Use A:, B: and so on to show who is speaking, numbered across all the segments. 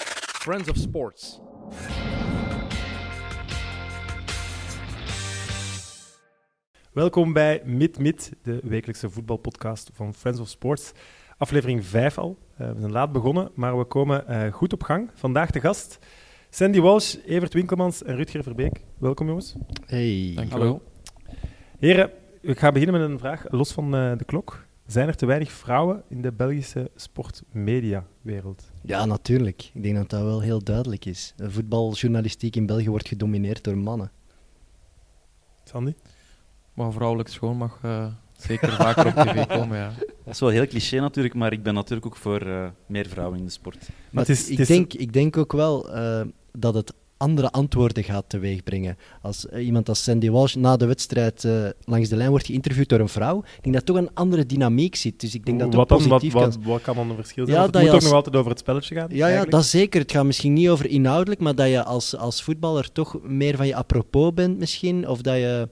A: Friends of Sports.
B: Welkom bij Mid Mid, de wekelijkse voetbalpodcast van Friends of Sports. Aflevering 5 al. Eh, we zijn laat begonnen, maar we komen eh, goed op gang. Vandaag de gast Sandy Walsh, Evert Winkelmans en Rutger Verbeek. Welkom jongens.
C: Hey.
D: Dankjewel.
B: Heren, ik ga beginnen met een vraag los van eh, de klok. Zijn er te weinig vrouwen in de Belgische sportmediawereld?
C: Ja, natuurlijk. Ik denk dat dat wel heel duidelijk is. De voetbaljournalistiek in België wordt gedomineerd door mannen.
B: Sandy?
D: Maar vrouwelijk schoon mag eh, zeker vaker op tv komen, ja.
E: Dat is wel heel cliché natuurlijk, maar ik ben natuurlijk ook voor eh, meer vrouwen in de sport.
C: Maar
B: het is- het
C: ik,
B: is-
C: denk, ik denk ook wel eh, dat het andere antwoorden gaat teweegbrengen. Als eh, iemand als Sandy Walsh na de wedstrijd eh, langs de lijn wordt geïnterviewd door een vrouw, ik denk dat toch een andere dynamiek zit. Dus ik denk dat het ook
B: wat, dan, wat,
C: positief kan
B: wat, wat kan dan een verschil zijn?
C: Ja,
B: Want
C: dat
B: het moet
C: je
B: ook
C: als-
B: nog altijd over het spelletje gaan.
C: Ja, ja,
B: eigenlijk.
C: dat zeker. Het gaat misschien niet over inhoudelijk, maar dat je als, als voetballer toch meer van je apropos bent misschien. Of dat je,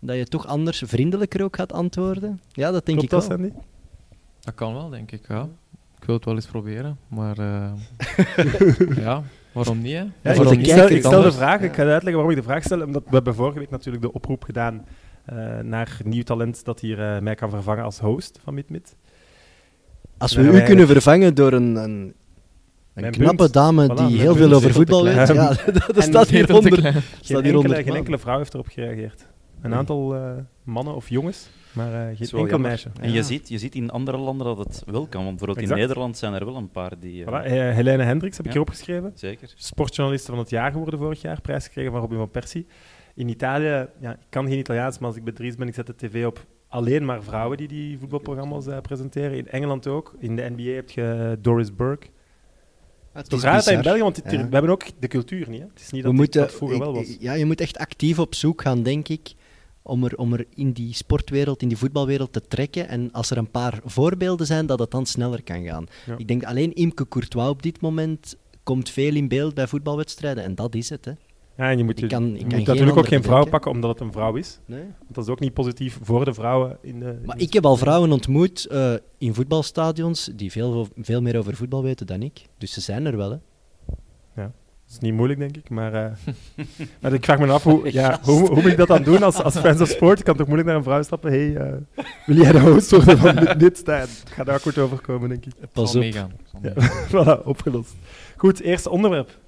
C: dat je toch anders vriendelijker ook gaat antwoorden. Ja, dat denk
B: Klopt
C: ik
B: dat,
C: wel.
B: Sandy?
D: Dat kan wel, denk ik, ja. Ik wil het wel eens proberen, maar... eh, ja, waarom niet, hè?
B: Ja,
C: Voor
B: ik, ik
C: de
B: stel,
C: kijker
B: ik
C: dan
B: stel de
C: dus.
B: vraag, ik ga uitleggen waarom ik de vraag stel. Omdat we hebben vorige week natuurlijk de oproep gedaan eh, naar nieuw talent dat hier eh, mij kan vervangen als host van MidMid.
C: Als we
B: Daar
C: u
B: hebben wij-
C: kunnen vervangen door een, een, een
B: Mijn
C: knappe
B: punt.
C: dame
B: Voilà,
C: die
B: mijn
C: heel
B: punt
C: veel
B: is
C: over
B: heel
C: voetbal
B: te
C: weet,
B: klein.
C: ja, dat, dat staat
D: Heel te
C: hieronder.
D: klein.
B: Geen
C: Staat
B: enkele,
C: hieronder.
B: geen enkele vrouw heeft erop gereageerd. Een aantal eh, mannen of jongens, maar eh, geen
E: is
B: enkel
E: wel jammer.
B: meisje.
E: En
B: Ja.
E: je, ziet, je ziet in andere landen dat het wel kan, want bijvoorbeeld
B: Exact.
E: in Nederland zijn er wel een paar die... eh,
B: Voilà, eh, Helene Hendricks heb ik
E: Ja.
B: hier opgeschreven.
E: Zeker.
B: Sportjournaliste van het jaar geworden vorig jaar. Prijs gekregen van Robin van Persie. In Italië, ja, ik kan geen Italiaans, maar als ik bedrijf ben, ik zet de tv op alleen maar vrouwen die die voetbalprogramma's eh, presenteren. In Engeland ook. In de NBA heb je eh, Doris Burke.
C: Ah, Het
B: Toch
C: is
B: raar dat in
C: bizar.
B: België, want dit-
C: Ja.
B: we hebben ook de cultuur niet. Hè? Het is niet
C: We
B: dat
C: moeten,
B: dat vroeger wel
C: ik-
B: was.
C: Ja, je moet echt actief op zoek gaan, denk ik, om er, om er in die sportwereld, in die voetbalwereld te trekken. En als er een paar voorbeelden zijn, dat het dan sneller kan gaan.
B: Ja.
C: Ik denk alleen Imke Courtois op dit moment komt veel in beeld bij voetbalwedstrijden. En dat is het, hè.
B: Ja, en je moet,
C: ik kan- ik
B: je
C: kan
B: moet
C: geen
B: dus natuurlijk ook
C: andere
B: geen vrouw
C: bedenken.
B: pakken omdat het een vrouw is. Want dat is ook niet positief voor de vrouwen. In de,
C: Maar
B: in de-
C: ik heb al vrouwen ontmoet eh, in voetbalstadions die veel, veel meer over voetbal weten dan ik. Dus ze zijn er wel, hè.
B: Dat is niet moeilijk, denk ik. Maar, eh, maar ik vraag me af, hoe, ja, hoe, hoe moet ik dat dan doen als, als fans of sport? Ik kan toch moeilijk naar een vrouw stappen? Hé, hey, eh, wil jij de host worden van dit- dit staan? Het gaat daar goed overkomen, denk ik.
C: Pas
D: Zal
C: op.
D: meegaan. Zal
B: Ja.
D: meegaan.
B: voilà, opgelost. Goed, eerste onderwerp.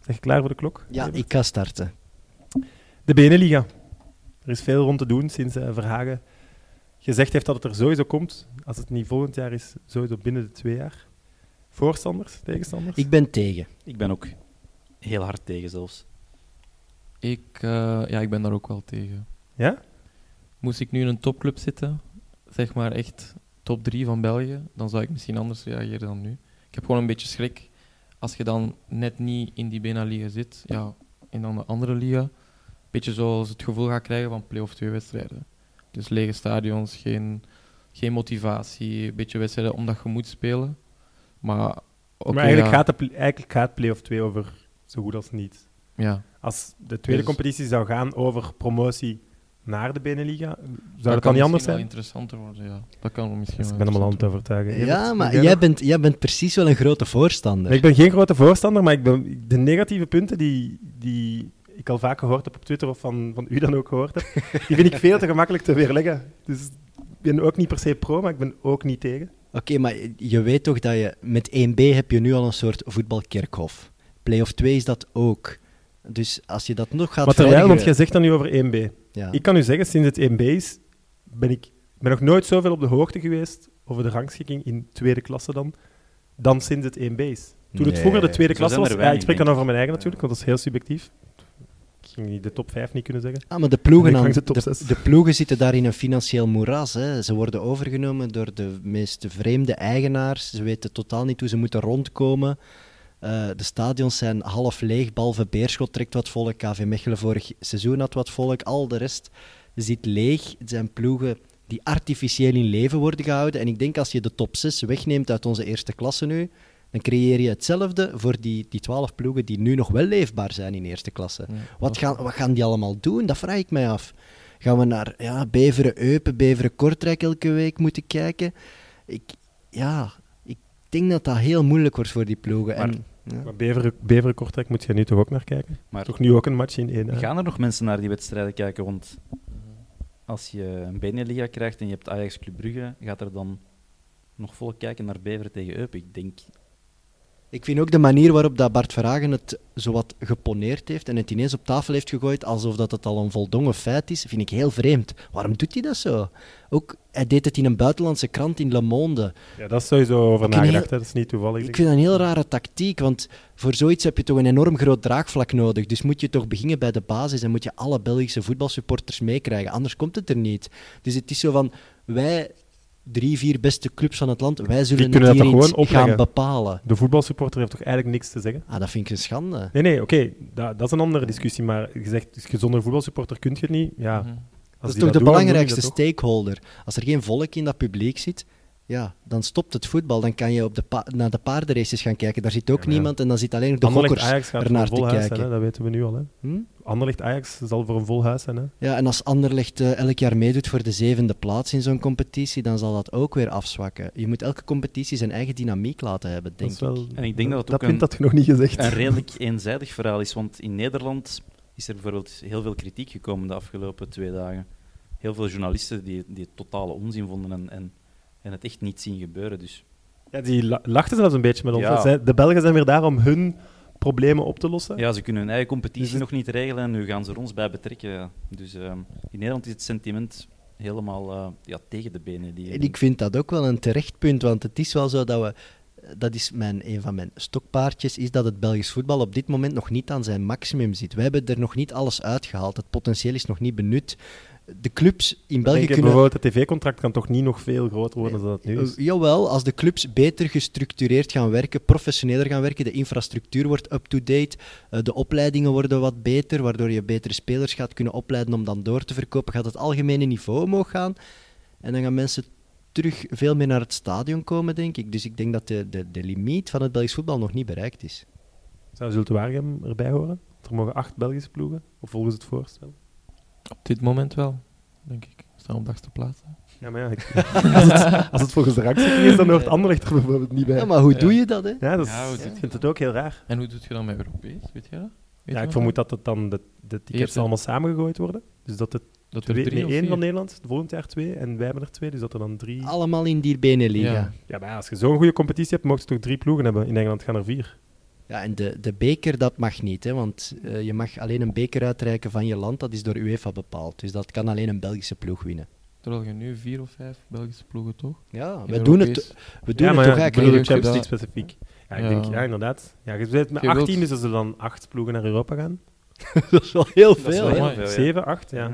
B: Zeg je klaar voor de klok?
C: Ja, ik ga starten.
B: De Beneliga. Er is veel rond te doen sinds eh, Verhagen gezegd heeft dat het er sowieso komt. Als het niet volgend jaar is, sowieso binnen de twee jaar. Voorstanders, tegenstanders?
C: Ik ben tegen.
E: Ik ben ook heel hard tegen zelfs.
D: Ik, eh, ja, ik ben daar ook wel tegen.
B: Ja?
D: Moest ik nu in een topclub zitten, zeg maar echt top 3 van België, dan zou ik misschien anders reageren dan nu. Ik heb gewoon een beetje schrik. Als je dan net niet in die Bena-liga zit, ja, en dan de andere liga, een beetje zoals het gevoel gaat krijgen van play-off 2 wedstrijden. Dus lege stadions, geen, geen motivatie, een beetje wedstrijden omdat je moet spelen. Maar, oké,
B: maar eigenlijk,
D: ja,
B: gaat de pl- eigenlijk gaat Play-off 2 over zo goed als niets.
D: Ja,
B: Als de tweede
D: Dus-
B: competitie zou gaan over promotie naar de Beneliga, zou
D: dat
B: dat
D: kan
B: dan niet anders
D: misschien wel
B: zijn?
D: interessanter worden, ja. Dat kan misschien
B: Dus
D: wel
B: ik ben hem al aan het
D: interessanter
B: overtuigen. Evert,
C: Ja, maar
B: jij
C: jij
B: nog?
C: bent, jij bent precies wel een grote
B: Nee,
C: voorstander.
B: ik ben geen grote voorstander, maar ik ben, de negatieve punten die, die ik al vaak gehoord heb op Twitter of van, van u dan ook gehoord heb, die vind ik veel te gemakkelijk te weerleggen. Dus ik ben ook niet per se pro, maar ik ben ook niet tegen.
C: Oké, maar je weet toch dat je met 1B heb je nu al een soort voetbalkerkhof. Playoff 2 is dat ook. Dus als je dat nog gaat
B: maar terwijl, want jij
C: verergeren-
B: zegt dan nu over 1B.
C: ja.
B: Ik kan u zeggen, sinds het 1B is, ben ik ben nog nooit zoveel op de hoogte geweest over de rangschikking in tweede klasse dan, dan sinds het 1B is. Toen het
C: Nee.
B: vroeger de tweede
E: Zo
B: klasse was,
E: zijn er
B: ja, ik
E: weinig,
B: spreek dan
E: denk
B: over mijn eigen natuurlijk, want dat is heel subjectief. Ik ging niet de top 5 niet kunnen zeggen.
C: Ah, maar de ploegen,
B: Ik hang
C: aan-
B: de top
C: de,
B: zes.
C: de ploegen zitten daar in een financieel moeras. Hè. Ze worden overgenomen door de meest vreemde eigenaars. Ze weten totaal niet hoe ze moeten rondkomen. Eh, de stadions zijn half leeg, behalve Beerschot trekt wat volk. KV Mechelen vorig seizoen had wat volk. Al de rest zit leeg. Het zijn ploegen die artificieel in leven worden gehouden. En ik denk als je de top 6 wegneemt uit onze eerste klasse nu, dan creëer je hetzelfde voor die, die 12 ploegen die nu nog wel leefbaar zijn in eerste klasse.
D: Ja,
B: eh,
C: Wat gaan, wat gaan die allemaal doen? Dat vraag ik mij af. Gaan we naar ja, Beveren Eupen, Beveren Kortrijk elke week moeten kijken? Ik, ja, ik denk dat dat heel moeilijk wordt voor die ploegen.
B: Maar
C: en, Ja.
B: Maar Beveren, Beveren Kortrijk moet je nu toch ook naar kijken?
E: Maar
B: Toch nu ook een match in één. hè?
E: gaan er nog mensen naar die wedstrijden kijken? Want als je een Beneliga krijgt en je hebt Ajax Club Brugge, gaat er dan nog volk kijken naar Beveren tegen Eupen? Ik denk
C: Ik vind ook de manier waarop dat Bart Verhagen het zowat geponeerd heeft en het ineens op tafel heeft gegooid, alsof dat het al een voldongen feit is, vind ik heel vreemd. Waarom doet hij dat zo? Ook, hij deed het in een buitenlandse krant in Le Monde.
B: Ja, dat is sowieso over
C: Ik vind
B: nagedacht. hè. Dat is niet toevallig.
C: Ik vind dat een heel rare tactiek, want voor zoiets heb je toch een enorm groot draagvlak nodig. Dus moet je toch beginnen bij de basis en moet je alle Belgische voetbalsupporters meekrijgen. Anders komt het er niet. Dus het is zo van, wij drie, vier beste clubs van het land, wij zullen
B: kunnen
C: het
B: dat
C: hier
B: toch
C: eens
B: gewoon
C: gaan
B: opleggen?
C: bepalen.
B: De voetbalsupporter heeft toch eigenlijk niks te zeggen?
C: Ah, dat vind ik een schande.
B: Nee, nee, oké, dat, dat is een andere discussie. Maar je zegt, dus je zonder voetbalsupporter kun je het niet. Ja, als
D: Mhm.
C: Dat
B: die
C: is toch de
B: doen, dan doen die
C: belangrijkste
B: dat toch?
C: stakeholder. Als er geen volk in dat publiek zit, ja, dan stopt het voetbal. Dan kan je op de pa- naar de paardenraces gaan kijken. Daar zit
B: Ja,
C: ook
B: maar ja.
C: niemand en dan zit alleen nog de
B: Anderlecht
C: gokkers.
B: Ajax gaat voor
C: ernaar
B: een
C: te
B: vol huis zijn,
C: kijken.
B: hè, dat weten we nu al. Hè.
C: Hm?
B: Anderlecht Ajax zal voor een vol huis zijn. Hè.
C: Ja, en als Anderlecht eh, elk jaar meedoet voor de zevende plaats in zo'n competitie, dan zal dat ook weer afzwakken. Je moet elke competitie zijn eigen dynamiek laten hebben,
B: Dat
C: denk
B: is wel,
C: ik.
E: En ik denk dat het ook
B: vindt
E: een-
B: dat je nog niet gezegd.
E: een redelijk eenzijdig verhaal is. Want in Nederland is er bijvoorbeeld heel veel kritiek gekomen de afgelopen twee dagen. Heel veel journalisten die, die het totale onzin vonden en, en, en het echt niet zien gebeuren. Dus
B: Ja, die la- lachten zelfs een beetje met ons.
E: Ja.
B: hè. Zij- De Belgen zijn weer daar om hun problemen op te lossen.
E: ja, ze kunnen hun eigen competitie
B: Dus het-
E: nog niet regelen en nu gaan ze er ons bij betrekken. Dus ehm, in Nederland is het sentiment helemaal eh, ja, tegen de benen. Die,
C: En ik vind dat ook wel een terecht punt, want het is wel zo dat we. Dat is mijn, een van mijn stokpaardjes, is dat het Belgisch voetbal op dit moment nog niet aan zijn maximum zit. We hebben er nog niet alles uitgehaald. Het potentieel is nog niet benut. De clubs in
B: Ik
C: België
B: denk,
C: kunnen...
B: Bijvoorbeeld, het tv-contract kan toch niet nog veel groter worden dan dat het nu is.
C: Eh, jawel, als de clubs beter gestructureerd gaan werken, professioneler gaan werken, de infrastructuur wordt up-to-date, eh, de opleidingen worden wat beter, waardoor je betere spelers gaat kunnen opleiden om dan door te verkopen, gaat het algemene niveau omhoog gaan. En dan gaan mensen terug veel meer naar het stadion komen, denk ik. Dus ik denk dat de, de, de limiet van het Belgisch voetbal nog niet bereikt is.
B: Zou Zulte Waregem erbij horen? Er mogen acht Belgische ploegen, of volgens het voorstel.
D: Op dit moment wel, denk ik. We staan op de achtste plaats. hè.
B: Ja, maar ja, ik- als, het, als het volgens de rangschikking is, dan hoort Anderlecht er bijvoorbeeld niet bij.
C: Ja, maar hoe
D: Ja.
C: doe je dat, hè?
B: Ja, dat is-
D: Ja, hoe doet
B: ik
D: je dat?
B: vind het ook heel raar.
D: En hoe doet je dan met Europees? Weet jij dat? Weet je
B: Ja, ik
D: dat?
B: vermoed dat het dan de, de tickets
D: Eerste.
B: allemaal samengegooid worden. Dus dat het
D: dat
B: twee,
D: er drie
B: nee,
D: of
B: één
D: vier-
B: van Nederland, volgend jaar twee, en wij hebben er twee, dus dat er dan drie...
C: Allemaal in die Beneliga.
D: Ja.
C: Ja.
B: Ja, maar ja, als je zo'n goede competitie hebt, mogen ze toch drie ploegen hebben. In Engeland gaan er vier.
C: en de, de beker, dat mag niet, hè, want eh, je mag alleen een beker uitreiken van je land, dat is door UEFA bepaald. Dus dat kan alleen een Belgische ploeg winnen.
D: Terwijl je nu vier of vijf Belgische ploegen toch?
C: Ja,
D: In
C: we Ah, doen,
D: Europees.
C: het, we
B: ja,
C: doen het
B: maar
C: toch
B: ja, ik
C: eigenlijk.
B: bedoel
D: Ik
B: de
D: heb
B: Champions League specifiek. Ja, ik
D: Ja.
B: denk, ja, inderdaad. Ja, je bent met
D: Je wilt-
B: 18, dus als er dan acht ploegen naar Europa gaan.
C: dat is wel heel
E: dat is
C: veel.
E: wel
D: hè?
E: heel veel, ja.
B: Zeven, acht, ja.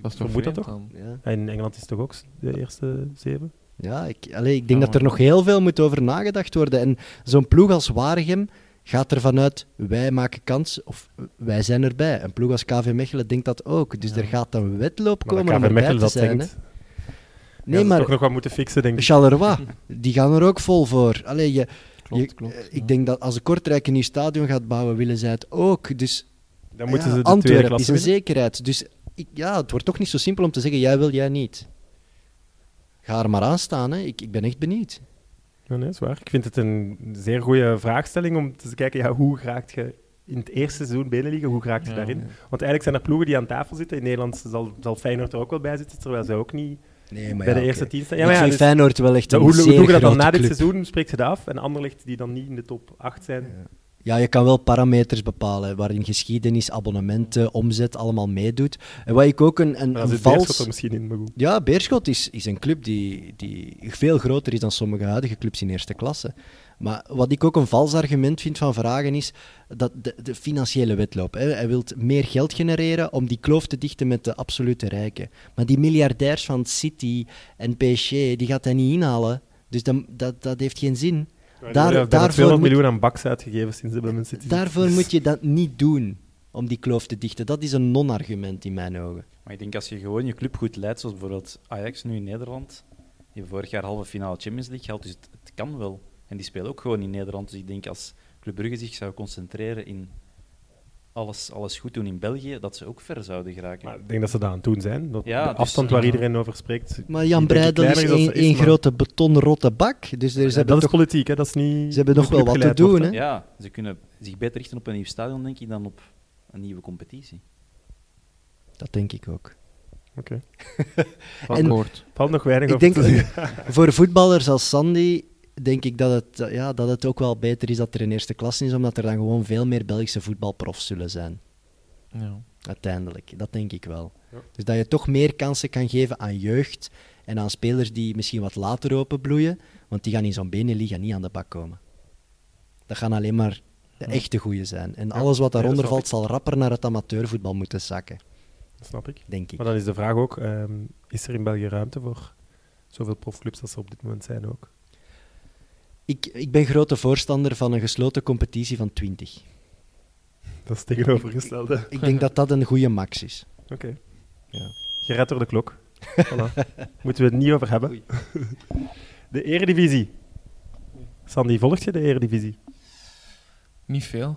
D: Dat is toch
B: Vermoed dat
D: vreemd
B: toch?
D: dan?
C: hè. Ja,
B: Ja, In Engeland is het toch ook de eerste zeven?
C: ja ik, allee, ik denk
D: Ja,
C: dat er
D: maar-
C: nog heel veel moet over nagedacht worden. En zo'n ploeg als Waregem gaat ervan uit, wij maken kans of eh, wij zijn erbij. Een ploeg als KV Mechelen denkt dat ook. Dus
D: Ja.
C: er gaat een wedloop
B: Maar
C: komen om
B: dat KV
C: erbij
B: Mechelen
C: te
B: dat
C: zijn.
B: denkt.
C: hè.
B: Ja,
C: Nee,
B: ze
C: maar
B: toch nog wat moeten fixen, denk ik.
C: Charleroi, die gaan er ook vol voor. Allee, je,
D: Klopt,
C: je-
D: klopt.
C: eh,
D: ja.
C: Ik denk dat als de Kortrijk een nieuw stadion gaat bouwen, willen zij het ook. Dus
B: Dan moeten
C: Ja,
B: ze de tweede
C: Antwerpen is
B: klasse
C: een
B: winnen.
C: zekerheid. Dus ik, ja, het wordt toch niet zo simpel om te zeggen: jij wil, jij niet. Ga er maar aan staan, hè. Ik, ik ben echt benieuwd.
B: Ja, nee, is waar. Ik vind het een zeer goede vraagstelling om te kijken, ja, hoe raakt je in het eerste seizoen Beneliga, hoe raakt je
D: Ja,
B: daarin?
D: ja.
B: Want eigenlijk zijn er ploegen die aan tafel zitten. In Nederland zal, zal Feyenoord er ook wel bij zitten, terwijl ze ook niet
C: Nee, maar
B: bij de eerste tien staan. Ja,
C: ik
B: maar ja,
C: vind
B: dus
C: Feyenoord wel echt
B: dat-
C: een
B: hoe, hoe
C: zeer
B: doe je dat dan
C: grote
B: na dit
C: club.
B: seizoen? Spreekt ze dat af? En Anderlecht, die dan niet in de top 8 zijn,
C: Ja, je kan wel parameters bepalen hè, waarin geschiedenis, abonnementen, omzet allemaal meedoet. En wat ik ook een, een,
B: maar
C: een
B: dan zit Beerschot
C: vals...
B: er misschien in. Maar goed.
C: Ja, Beerschot is, is een club die, die veel groter is dan sommige huidige clubs in eerste klasse. Maar wat ik ook een vals argument vind van Vragen is dat de, de financiële wedloop. Hè. Hij wil meer geld genereren om die kloof te dichten met de absolute rijken. Maar die miljardairs van City en PSG, die gaat hij niet inhalen. Dus dan, dat, dat heeft geen zin.
B: Maar
C: Daar-
B: er zijn bijna
C: daarvoor
B: 200
C: moet-
B: miljoen aan baks uitgegeven sinds de Man City. Dus-
C: Daarvoor moet je dat niet doen, om die kloof te dichten. Dat is een non-argument in mijn ogen.
E: Maar ik denk als je gewoon je club goed leidt, zoals bijvoorbeeld Ajax nu in Nederland, die hebben vorig jaar halve finale Champions League gehaald, dus het, het kan wel. En die spelen ook gewoon in Nederland. Dus ik denk als Club Brugge zich zou concentreren in alles, alles goed doen in België, dat ze ook ver zouden geraken.
B: Maar ik denk dat ze daar aan het doen zijn. Dat
E: Ja,
B: de
E: dus,
B: afstand waar
E: ja.
B: iedereen over spreekt.
C: Maar Jan
B: Ik denk
C: Breidel is
B: kleiner dan
C: één
B: ze is,
C: één
B: maar-
C: grote betonrotte bak. Dus er
B: Ja,
C: is hebben
B: dat is
C: toch-
B: politiek, hè? Dat is niet,
C: ze hebben nog
B: niet
C: wel wat te
B: opgeleid
C: doen,
B: wordt,
C: hè?
E: Ja, ze kunnen zich beter richten op een nieuw stadion, denk ik, dan op een nieuwe competitie.
C: Dat denk ik ook.
D: Van
C: En-
D: akkoord.
B: Valt nog weinig
C: Ik
B: over
C: denk
B: te zeggen.
C: voor voetballers als Sandy denk ik dat het, eh, ja, dat het ook wel beter is dat er een eerste klasse is, omdat er dan gewoon veel meer Belgische voetbalprofs zullen zijn.
D: Ja.
C: Uiteindelijk, dat denk ik wel.
B: Ja.
C: Dus dat je toch meer kansen kan geven aan jeugd en aan spelers die misschien wat later openbloeien, want die gaan in zo'n Beneliga niet aan de bak komen. Dat gaan alleen maar de
B: Ja.
C: echte goeie zijn. En
B: Ja,
C: alles wat
B: nee, dat
C: daaronder
B: snap
C: valt, zal rapper naar het amateurvoetbal moeten zakken,
B: Dat snap ik.
C: denk ik.
B: Maar dan is de vraag ook, ehm, is er in België ruimte voor zoveel profclubs als er op dit moment zijn ook?
C: Ik, ik ben grote voorstander van een gesloten competitie van 20.
B: Dat is het tegenovergestelde.
C: Ik denk dat dat een goede max is.
B: Oké.
C: Ja.
B: Je redt door de klok. Voilà. Moeten we het niet over hebben. De Eredivisie. Sandy, volgt je de Eredivisie?
D: Niet veel.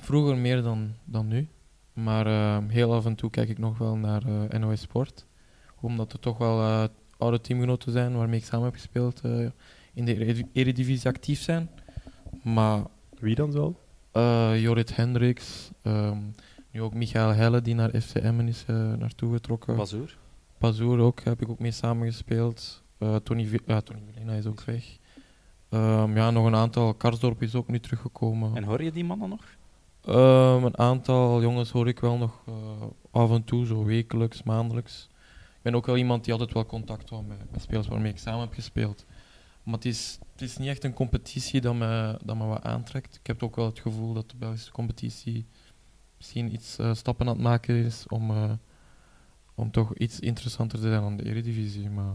D: Vroeger meer dan, dan nu. Maar eh, heel af en toe kijk ik nog wel naar eh, NOS Sport. Omdat er toch wel eh, oude teamgenoten zijn waarmee ik samen heb gespeeld. eh, in de Eredi- Eredivisie actief zijn. Maar
B: Wie dan zo?
D: eh, Jorrit Hendricks. ehm, nu ook Michael Helle die naar FCM is eh, naartoe getrokken.
E: Bazoer?
D: Pazoer ook, heb ik ook mee samengespeeld. Eh Tony, Vi- ja, Tony Villena is ook weg. Ehm, ja, nog een aantal. Karsdorp is ook nu teruggekomen.
E: En hoor je die mannen nog?
D: Ehm, een aantal jongens hoor ik wel nog eh, af en toe, zo wekelijks, maandelijks. Ik ben ook wel iemand die altijd wel contact houdt met, met spelers waarmee ik samen heb gespeeld. Maar het is, het is niet echt een competitie dat me, dat me wat aantrekt. Ik heb ook wel het gevoel dat de Belgische competitie misschien iets eh, stappen aan het maken is om, eh, om toch iets interessanter te zijn dan de Eredivisie. Maar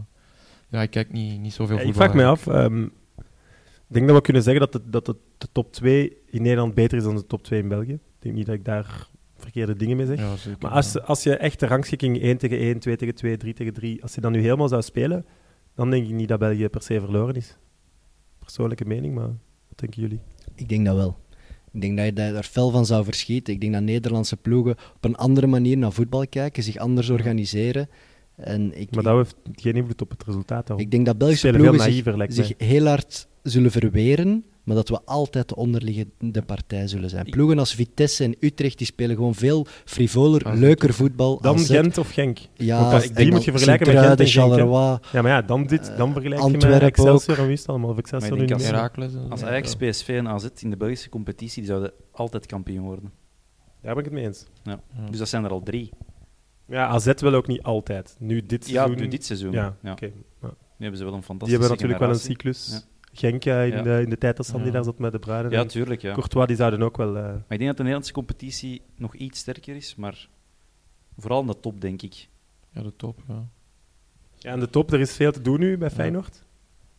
D: ja, ik kijk niet, niet zoveel
B: Ja, ik
D: voetbal
B: vraag mij
D: eigenlijk.
B: af. ehm, ik denk dat we kunnen zeggen dat, de, dat de, de top 2 in Nederland beter is dan de top 2 in België. Ik denk niet dat ik daar verkeerde dingen mee zeg.
D: Ja, zeker,
B: Maar
D: ja.
B: als, als je echt de rangschikking 1 tegen 1, 2 tegen 2, 3 tegen 3, als je dat nu helemaal zou spelen, dan denk ik niet dat België per se verloren is. Persoonlijke mening, maar wat denken jullie?
C: Ik denk dat wel. Ik denk dat je daar daar fel van zou verschieten. Ik denk dat Nederlandse ploegen op een andere manier naar voetbal kijken, zich anders organiseren. En ik,
B: Maar dat heeft geen invloed op het resultaat. daarom.
C: ik denk dat Belgische
B: spelen veel
C: ploegen zich,
B: naïver, lijkt
C: zich
B: mij.
C: heel hard zullen verweren, maar dat we altijd de onderliggende partij zullen zijn. Ploegen als Vitesse en Utrecht die spelen gewoon veel frivoler,
D: Ah,
C: leuker voetbal.
B: Dan
C: als
B: Gent of Genk.
C: Ja,
B: Want als- die moet je vergelijken met Gent en Genk, hè.
C: Charleroi. eh,
B: Ja, maar ja, dan, dit, dan vergelijk je met
C: Antwerpen
B: Excelsior en wie is het allemaal? Of Excelsior
E: Maar
B: nu
E: ik denk
B: niet
E: als-
B: meer.
D: Heracles en
E: Als
D: zo.
E: Ajax, PSV en AZ in de Belgische competitie, die zouden altijd kampioen worden.
B: Daar ben ik het mee eens.
D: Ja.
E: Dus dat zijn er al drie.
B: Ja, AZ wel ook niet altijd. Nu dit
E: Ja,
B: seizoen.
E: nu dit seizoen.
B: Ja,
E: Ja.
B: oké. Nou,
E: Nu hebben ze wel een
B: Die
E: fantastische
B: hebben natuurlijk wel een
E: generatie.
B: cyclus.
E: Ja.
B: Genk ja, in,
E: Ja.
B: De, in de tijd dat Sandy
D: Ja.
B: daar zat met de Bruinen.
E: Ja,
B: en
E: tuurlijk. Ja.
B: Courtois, die zouden ook wel... eh,
E: Maar ik denk dat de Nederlandse competitie nog iets sterker is, maar vooral in de top, denk ik.
D: ja, de top, ja.
B: Ja, aan de top, er is veel te doen nu bij Feyenoord.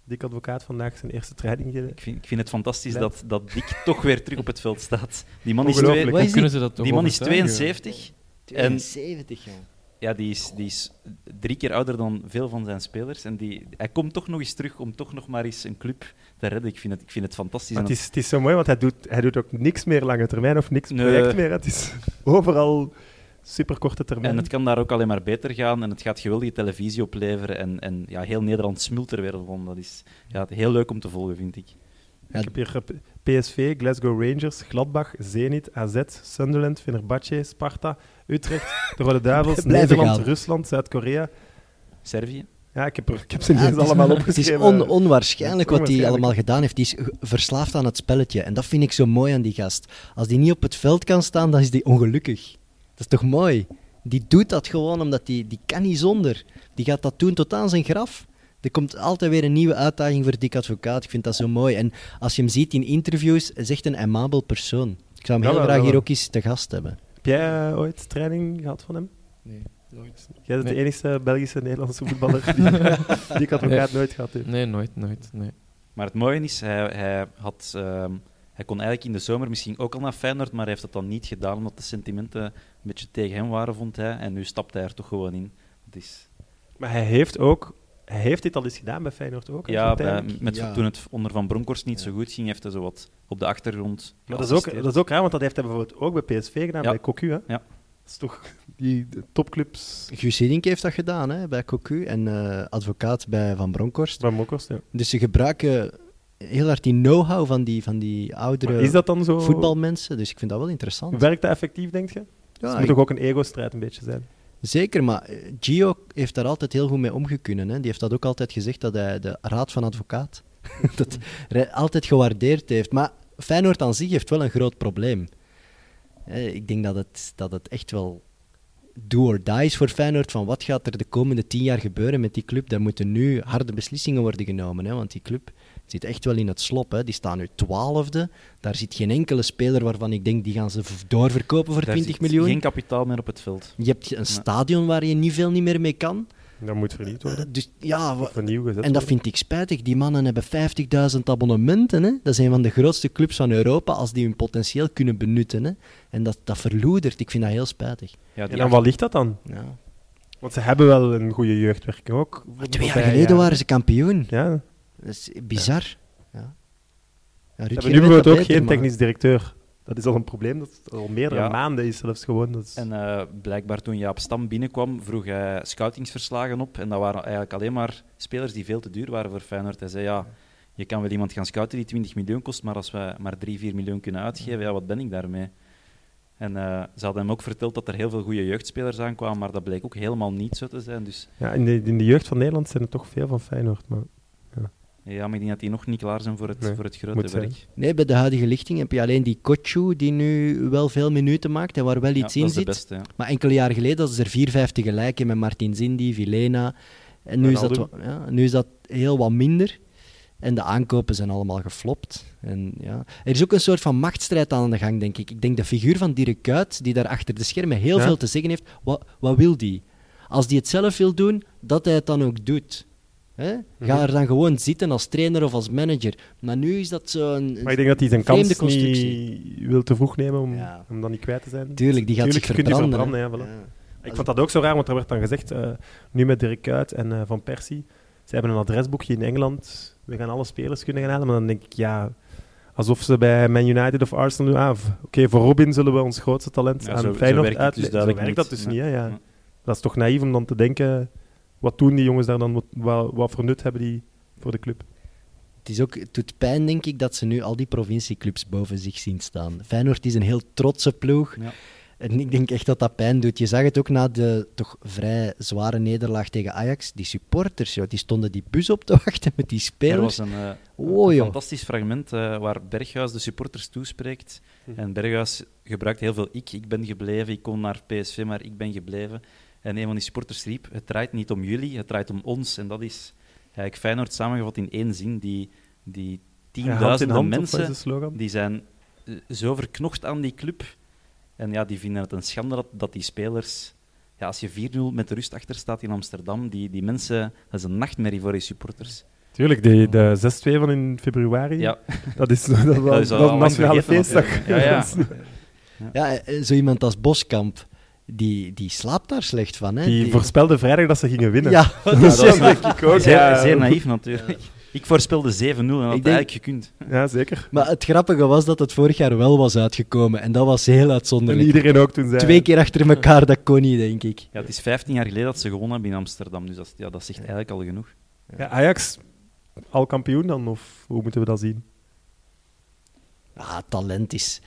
B: Dik advocaat vandaag zijn eerste training gegeven.
E: Ik vind, ik vind het fantastisch
B: Ja.
E: dat, dat Dick toch weer terug op het veld staat. Die man is,
B: Ongelooflijk.
C: Wat
E: twee-
D: Hoe
C: is die?
D: kunnen ze dat toch
E: die man is
D: overtuigen?
E: 72. En
C: 72, jong.
E: ja, die is, die is drie keer ouder dan veel van zijn spelers. En die, hij komt toch nog eens terug om toch nog maar eens een club te redden. Ik vind het, ik vind het fantastisch.
B: Maar het
E: En
B: is, het is zo mooi, want hij doet, hij doet ook niks meer lange termijn of niks
E: Nee.
B: project meer. Het is overal superkorte termijn.
E: En het kan daar ook alleen maar beter gaan. En het gaat geweldige televisie opleveren. En, en ja, heel Nederland smult er weer van. Dat is ja, heel leuk om te volgen, vind ik.
B: Ik heb hier eh, PSV, Glasgow Rangers, Gladbach, Zenit, AZ, Sunderland, Fenerbahce, Sparta, Utrecht, de Rode Duivels,
C: Blijven
B: Nederland,
C: gaan.
B: Rusland, Zuid-Korea.
E: Servië?
B: Ja, ik heb, er, ik heb ze niet
C: Ja,
B: eens
C: het is-
B: allemaal
C: Het is
B: opgeschreven.
C: on- onwaarschijnlijk wat hij
B: Onwaarschijnlijk.
C: allemaal gedaan heeft. Die is ge- verslaafd aan het spelletje. En dat vind ik zo mooi aan die gast. Als die niet op het veld kan staan, dan is die ongelukkig. Dat is toch mooi? Die doet dat gewoon omdat die, die kan niet zonder. Die gaat dat doen tot aan zijn graf. Er komt altijd weer een nieuwe uitdaging voor Dick Advocaat. Ik vind dat zo mooi. En als je hem ziet in interviews, is echt een amabel persoon. Ik zou hem heel
B: Jawel,
C: graag hier
B: jawel.
C: ook eens te gast hebben.
B: Heb jij eh, ooit training gehad van hem?
D: Nee, nooit.
B: Jij bent de
D: Nee.
B: enige Belgische Nederlandse voetballer die, die ik advocaat nooit gehad heeft.
D: Nee, nooit, nooit. Nee.
E: Maar het mooie is, hij, hij, had, ehm, hij kon eigenlijk in de zomer misschien ook al naar Feyenoord, maar hij heeft dat dan niet gedaan, omdat de sentimenten een beetje tegen hem waren, vond hij. En nu stapt hij er toch gewoon in. Het is,
B: Maar hij heeft ook Hij heeft dit al eens gedaan bij Feyenoord ook. hè,
E: Ja,
B: zo
E: bij,
B: tijdelijk.
E: met,
C: Ja.
E: toen het onder Van Bronckhorst niet
C: Ja.
E: zo goed ging, heeft hij zo wat op de achtergrond
B: Maar dat, is ook, dat is ook raar, want dat heeft hij bijvoorbeeld ook bij PSV gedaan,
E: Ja.
B: bij Cocu. Hè?
E: Ja.
B: Dat is toch die de topclubs
C: Guus Hiddink heeft dat gedaan hè, bij Cocu en eh, advocaat bij Van Bronckhorst.
B: van Mokkost. Ja.
C: Dus ze gebruiken heel hard die know-how van die, van die
B: Maar
C: oudere
B: is dat dan zo?
C: voetbalmensen. Dus ik vind dat wel interessant.
B: Werkt dat effectief, denk je?
C: Ja,
B: het
C: ik-
B: moet toch ook een ego-strijd een beetje zijn?
C: Zeker, maar eh, Gio heeft daar altijd heel goed mee omgekunnen. Hè. Die heeft dat ook altijd gezegd, dat hij de raad van advocaat dat hij altijd gewaardeerd heeft. Maar Feyenoord aan zich heeft wel een groot probleem. Eh, Ik denk dat het, dat het echt wel do or die is voor Feyenoord. Van wat gaat er de komende tien jaar gebeuren met die club? Daar moeten nu harde beslissingen worden genomen. Hè, want die club zit echt wel in het slop. Hè. Die staan nu twaalfde. Daar zit geen enkele speler waarvan ik denk, die gaan ze v- doorverkopen voor
E: Daar
C: 20
E: zit
C: miljoen.
E: Geen kapitaal meer op het veld.
C: Je hebt een stadion waar je niet veel niet meer mee kan.
B: Dat moet vernieuwd worden.
C: Dus ja, wa-
B: Of vernieuw gezet
C: en dat
B: worden.
C: vind ik spijtig. Die mannen hebben 50.000 abonnementen. Hè? Dat zijn van de grootste clubs van Europa als die hun potentieel kunnen benutten. Hè? En dat, dat verloedert. Ik vind dat heel spijtig.
E: Ja,
B: En
E: die
B: dan wat ligt dat dan?
C: Ja.
B: Want ze hebben wel een goede jeugdwerking ook.
C: Twee jaar geleden waren ze kampioen.
B: Ja, ze
C: Dat is bizar. Ja. Ja,
B: hebben nu
C: Rutger weet dat
B: bijvoorbeeld ook
C: beter,
B: geen
C: maar-
B: technisch directeur. Dat is al een probleem dat het al meerdere
E: Ja.
B: maanden is zelfs gewoon. Dat is...
E: En eh, blijkbaar toen Jaap Stam binnenkwam, vroeg hij scoutingsverslagen op. En dat waren eigenlijk alleen maar spelers die veel te duur waren voor Feyenoord. Hij zei, ja, je kan wel iemand gaan scouten die 20 miljoen kost, maar als wij maar 3, 4 miljoen kunnen uitgeven, ja, wat ben ik daarmee? En eh, ze hadden hem ook verteld dat er heel veel goede jeugdspelers aankwamen, maar dat bleek ook helemaal niet zo te zijn. Dus
B: Ja, in, de, in de jeugd van Nederland zijn er toch veel van Feyenoord. Maar...
E: ja, maar ik denk dat die nog niet klaar zijn voor het,
B: Nee,
E: voor het
B: moet
E: grote
B: zijn.
E: werk.
C: Nee, bij de huidige lichting heb je alleen die Kochu, die nu wel veel minuten maakt en waar wel iets
E: ja,
C: in
E: dat is de
C: zit.
E: beste, ja.
C: Maar enkele jaren geleden hadden ze er vier, vijf tegelijk in met Martin Zindi, Vilena. En nu is, dat,
B: Wijnaldum.
C: wa- ja, nu is dat heel wat minder. En de aankopen zijn allemaal geflopt. En, ja. Er is ook een soort van machtsstrijd aan de gang, denk ik. Ik denk de figuur van Dirk Kuyt, die daar achter de schermen heel
B: Ja.
C: veel te zeggen heeft, wat, wat wil die? Als die het zelf wil doen, dat hij het dan ook doet. Hè?
B: Mhm.
C: Ga er dan gewoon zitten als trainer of als manager. Maar nu is dat zo'n...
B: Maar ik denk dat hij zijn
C: Vreemde
B: kans niet
C: constructie.
B: wil te vroeg nemen om,
C: Ja.
B: om dat niet kwijt te zijn.
C: Tuurlijk, die gaat
B: Tuurlijk,
C: zich
B: je kunt die
C: verbranden.
B: verbranden,
C: hè.
B: Ik vond dat ook zo raar, want er werd dan gezegd, eh, nu met Dirk Kuyt en eh, Van Persie, ze hebben een adresboekje in Engeland, we gaan alle spelers kunnen gaan halen. Maar dan denk ik, ja, alsof ze bij Man United of Arsenal doen, ah, v- oké, voor Robin zullen we ons grootste talent
E: Ja,
B: aan
E: zo- zo
B: Feyenoord
E: werkt het
B: uitle-
E: dus duidelijk
B: zo werkt dat
E: niet.
B: dus
E: Nee.
B: niet, hè, ja.
E: Nee.
B: Dat is toch naïef om dan te denken, wat doen die jongens daar dan, wat, wat, wat voor nut hebben die voor de club?
C: Het, is ook, het doet pijn, denk ik, dat ze nu al die provincieclubs boven zich zien staan. Feyenoord is een heel trotse ploeg.
E: Ja.
C: En ik denk echt dat dat pijn doet. Je zag het ook na de toch vrij zware nederlaag tegen Ajax. Die supporters, joh, die stonden die bus op te wachten met die
E: Er
C: spelers.
E: was een, eh,
C: Oh,
E: een
C: joh.
E: fantastisch fragment eh, waar Berghuis de supporters toespreekt.
B: Mhm.
E: En Berghuis gebruikt heel veel ik. Ik ben gebleven, ik kon naar PSV, maar ik ben gebleven. En een van die supporters riep, het draait niet om jullie, het draait om ons. En dat is eigenlijk Feyenoord samengevat in één zin. Die, die
B: Ja, hand in
E: tienduizenden
B: hand, of wat is
E: mensen
B: de slogan?
E: die zijn eh, zo verknocht aan die club. En ja, die vinden het een schande dat, dat die spelers... Ja, als je 4-0 met de rust achter staat in Amsterdam, die, die mensen... Dat is een nachtmerrie voor die supporters.
B: Tuurlijk, de, de 6-2 van in februari,
E: Ja,
B: dat is dat was-
E: Dat is al
B: was
E: lang
B: nationale
E: vergeten
B: feestdag.
E: natuurlijk. Ja, ja.
B: Dat is-
C: Ja, eh, zo iemand als Boskamp, die, die slaapt daar slecht van. Hè?
B: Die voorspelde vrijdag dat ze gingen winnen.
C: Ja, dat
B: Ja,
C: is
B: dat
C: jammer.
B: denk ik ook.
E: Zeer,
B: ja.
E: zeer naïef natuurlijk. Ik voorspelde 7-0 en had
C: denk-
E: eigenlijk gekund.
B: Ja, zeker.
C: Maar het grappige was dat het vorig jaar wel was uitgekomen. En dat was heel
B: En
C: uitzonderlijk.
B: iedereen ook toen zei...
C: Twee keer achter elkaar, dat kon niet, denk ik.
E: Ja, het is 15 jaar geleden dat ze gewonnen hebben in Amsterdam, dus dat, is- ja, dat zegt eigenlijk al genoeg.
B: Ja, Ajax, al kampioen dan? Of hoe moeten we dat zien?
C: Ah, talent is.